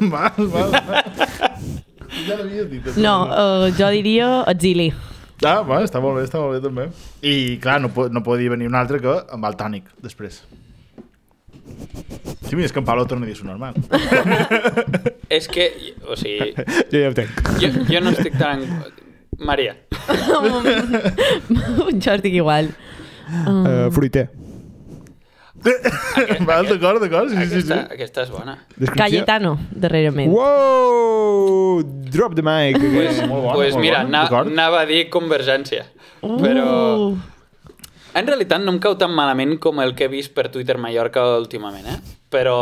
mal, mal, mal. Ja l'havia dit. també. No, uh, jo diria exili. Ah, va, està molt bé, està molt bé també. I clar, no, po- no podia venir un altre que amb el tònic, després. Sí, mira, és que en Pablo torna a dir normal. És que, o sigui, jo ja ho tenc. jo, jo no estic tan... Maria. jo estic igual. Eh, Um, Uh, fruiter. Val, d'acord, d'acord, sí, sí, sí. Aquesta, aquesta és bona. Descripció. Cayetano, darrerament. Wow! Drop the mic. Pues, again. molt bona, pues molt mira, bona, na- d'acord. anava a dir convergència. Però... Uh, En realitat no em cau tan malament com el que he vist per Twitter Mallorca últimament, eh? Però,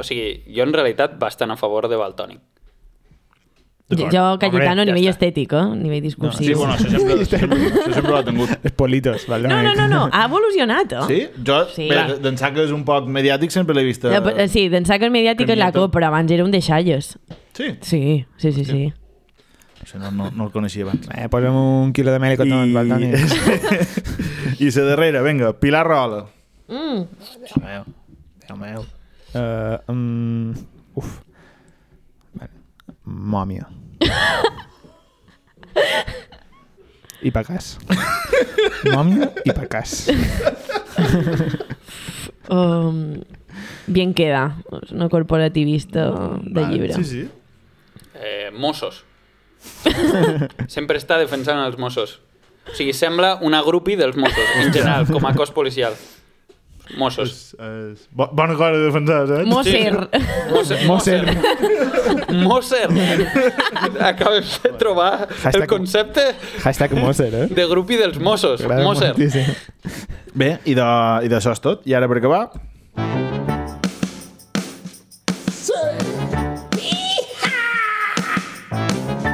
o sigui, jo en realitat bastant a favor de Baltònic. jo, D'acord. jo Cayetano a Hombre, ja nivell està. estètic, eh? a nivell discursiu. Sí, bueno, això sempre, això sempre, això sempre ho ha tingut. Els politos, vale? no, no, no, no, ha evolucionat, eh? Sí? Jo, Sí. sí, bé, Clar. d'ençà que és un poc mediàtic, sempre l'he vist... eh, Ja, però, Sí, d'ençà que el mediàtic és la Candidato. cop, però abans era un deixalles. Sí? Sí, sí, sí, sí. O sigui, no, no, no el coneixia abans. Eh, posa'm un quilo de mel i cotó, I... Baltani. I la darrera, vinga, Pilar Rahola. Mm. Déu meu, Déu meu. Uh, um, uf. Vale. Mòmia. I pacàs. Mòmia i pacàs. Um, bien queda, és una corporativista de Va, llibre. Sí, sí. Eh, Mossos. Sempre està defensant els Mossos. O sigui, sembla una grupi dels Mossos, en general, com a cos policial. Mossos. És, és... bo- Bona cosa de defensar, saps? Moser. Mosser. Mosser. Mosser. Acabem de trobar el Hashtag- concepte Hashtag Moser, eh? de grupi dels Mossos. M'agrada Mosser. moltíssim. Bé, i, de, i d'això és tot. I ara per acabar...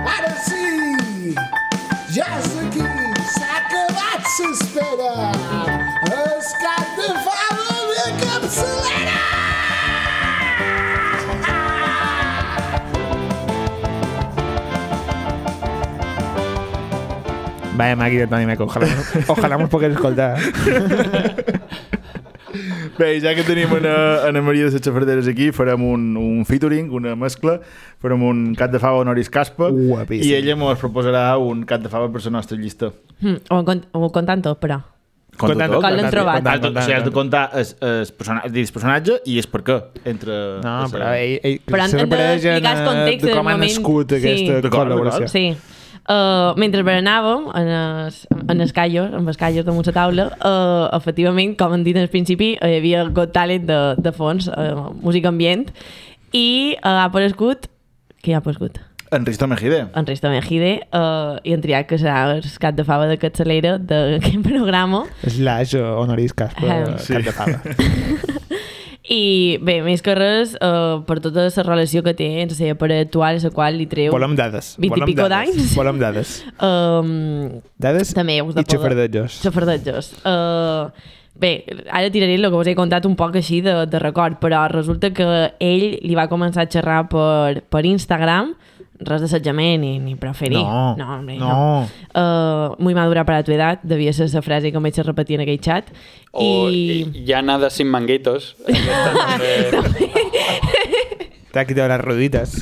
Odyssey, Yasuki, Sakamatsu Spinner, Scott the Father, Jacob Selena! Vaya màquina, Toni Meco. Ojalà, ojalà mos pogués escoltar. Bé, i ja que tenim Ana, Ana Maria de Setxa Ferderes aquí, farem un, un featuring, una mescla, farem un cat de fava honoris caspa, Guapíssim. i ella mos proposarà un cat de fava per la nostra llista. Mm, ho, cont ho contant tot, però. Conta Contant, tot. Com l'hem Has trobat? de, contant, o sigui, has de contant. contar es, es, persona, el personatge i és per què. Entre, No, és, però eh, ell, ell Però han- se han de refereix en, explicar el eh, context de del com ha moment. nascut Sí. aquesta D'acord, col·laboració. Sí. Uh, mentre berenàvem en es, en els callos, amb els callos damunt la taula, uh, efectivament, com hem dit al principi, eh, hi havia eh, Got Talent de, de fons, uh, música ambient, i uh, ha eh, aparegut Qui hi ha posgut? En Risto Mejide. En Risto Mejide eh, i en Triat, que serà el cap de fava de capçalera d'aquest programa. Slash eh, honoris Ah. caspa, sí. cap de fava. I bé, més que res, eh, per tota la relació que té entre la seva parella actual, la qual li treu... Volem dades. Vint i volem pico dades, d'anys. Volem dades. Um, Dades també us de i xafardejos. Xafardejos. Uh, bé, ara tiraré el que us he contat un poc així de, de record, però resulta que ell li va començar a xerrar per, per Instagram, res d'assetjament ni, ni preferir. No, no, hombre, no. no. Uh, muy madura para tu edad, devia ser la frase que vaig a repetir en aquell xat. O eh, I... i... ja nada sin manguitos. Aquesta també... T'ha quitat les rodites.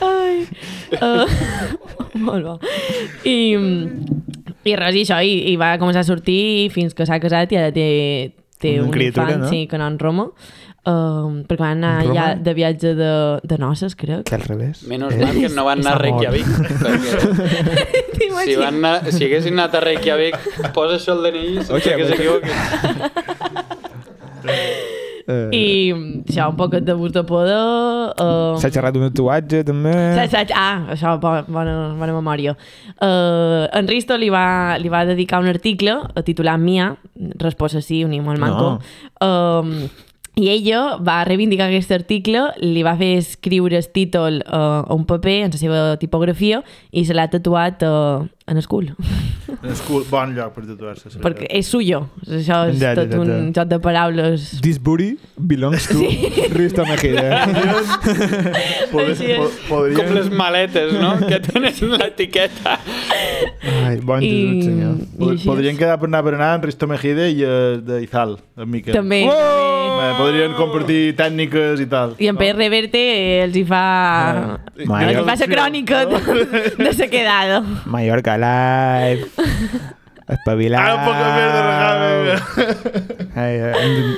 Ai. Uh, molt bo. I, I res, i això, i, i va començar a sortir fins que s'ha casat i ara té, té Una un criatura, infant, no? sí, que no en Roma. Um, perquè van anar En Roma? ja de viatge de, de noces, crec. Que al revés. Eh, Menos mal Eh, que no van anar a És amor. Reykjavik. Perquè si, van anar, si haguessin anat a Reykjavik, posa això al DNI sense Oye, que pues- s'equivoquin. Eh, I... I això, un poquet de gust de poder... Uh, S'ha xerrat un tatuatge, també. Saps, saps, ah, això, bo- bona, bona memòria. Uh, en Risto li va, li va dedicar un article a titular Mia, resposta sí, un molt manco, no. um, i ella va reivindicar aquest article, li va fer escriure el títol uh, a un paper en la seva tipografia i se l'ha tatuat uh, en el cul. És cool, bon lloc per tatuar-se. sí. Perquè és suyo. Això és Ja, ja, tot ja, ja. un joc de paraules. This booty belongs to Risto Mejide. Poder- Així és. po- podríem- Com les maletes, no? Que tenen l'etiqueta. Ai, bon I... I, Jesús, senyor. i Pod- així Podrien és. quedar per anar a berenar en Risto Mejide i eh, de Izal, en Miquel. També, Uau! també. Eh, podrien compartir tècniques i tal. I en Pere Reverte eh, els hi fa... Ah, Eh, Mare. els hi fa la crònica de, de sa quedada. Mallorca Live. Espavilau. Ah, Ara un poc de merda, regame. Ai, eh,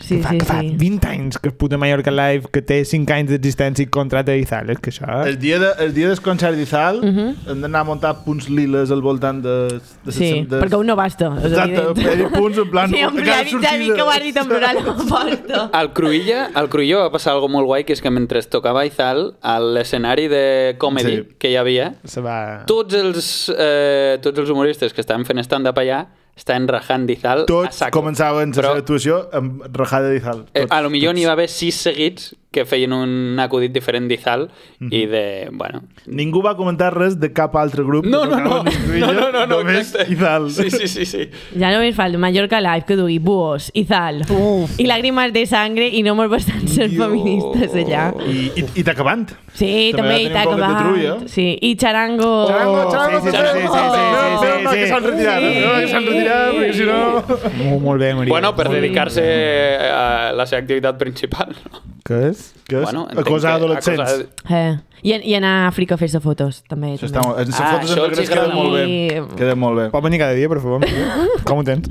Sí, fa, sí, fa sí. 20 anys que el puta Mallorca Live que té 5 anys d'existència i contracta Izal, és que això... El dia, de, el dia del concert d'Izal uh Mhm. -huh. hem d'anar a muntar punts liles al voltant de... de Sí, de, perquè un no basta, és Exacte, evident. per punts en plan... Sí, en de plan, cada ja dic que ho ha dit en plural a la porta. Al Cruïlla, al Cruïlla va passar algo molt guai, que és que mentre tocava Izal, a l'escenari de comedy Sí. sí. que hi havia, Se va... tots els, eh, tots els humoristes que estaven fent stand-up allà estaven rajant d'Izal a Tots Ah, saco. començaven la Però, seva actuació amb rajada d'Izal. eh, Tots. a lo millor n'hi va haver sis seguits que feien un acudit diferent d'Izal Mhm. i de... Bueno, Ningú va comentar res de cap altre grup. no, que no, no, tocava ni Cruïlla, no, no, no, no, només exacte. Izal. Sí, sí, sí, sí. Ja només falta Mallorca Live que dugui buos, Izal, Uf. i làgrimes de sangre i no molt bastants ser Dios. feministes allà. I, i, i t'acabant. Sí, També també, va hi tenir t'ha un poquet de acabat. trulla. Sí, i Charango. Charango, charango, Oh, sí, sí, sí, charango. sí, sí, sí, sí, sí, Menos mal que sí. s'han retirat, menos mal que s'han retirat, perquè si no... Molt, molt bé, Maria. Bueno, per Molt bé. dedicar-se a la seva activitat principal. No? Què és? Què és? Bueno, entenc Acosar que- adolescents. acosar- Eh. I, I anar a Àfrica a fer-se fotos, també. Això també. està molt... Les Ah, fotos això en els negres agrada queden molt bé. molt. Queden molt bé. Pot venir cada dia, per favor? Maria? Com ho tens?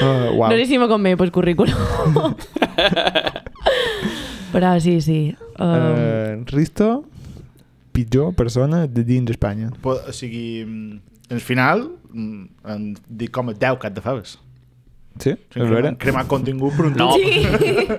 Uh, uau. No sé si me convé pel pues, currículum. Però ah, sí, sí. Um, Eh, Risto, pitjor persona de dins Espanya. Po- O sigui, mm, en final, mm, en dic com a 10 cap de faves. Sí? O sigui, cremar, cremar contingut per un No, tub. sí.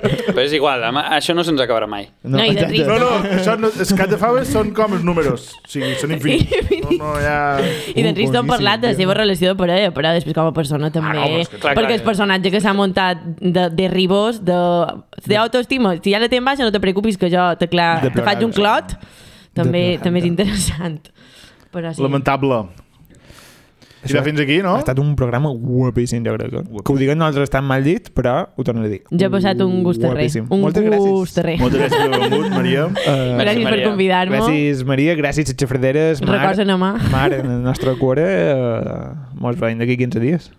però és igual, ama- això no se'ns acabarà mai. No, i de exacte. Risto. No, no, això no, els cap de faves són com els números. O sigui, són infinits. No, no, ja... I Uh, d'en Risto boníssim, hem parlat de la tio. seva relació de parella, però després com a persona també. home, és que clar, clar, perquè el clar. personatge que s'ha muntat de, de ribós, de, de autoestima, si ja la tens baixa no te preocupis que jo te, clar, De te faig un plorant. clot, també, plorant, també és ja. interessant. Però sí. Lamentable. I de fins aquí, no? Ha estat un programa guapíssim, jo crec. Eh? Que ho diguen nosaltres tan mal dit, però ho torno a dir. Jo he passat un gust terrer. Guapíssim. Un Moltes gust gràcies. terrer. Moltes gràcies per haver vingut, Maria. Eh, Gràcies per Maria. convidar-me. gràcies, Maria. Gràcies, Xafrederes. Mar, Records en la mà. Mar, en el nostre cuore. Eh, mos veiem d'aquí 15 dies.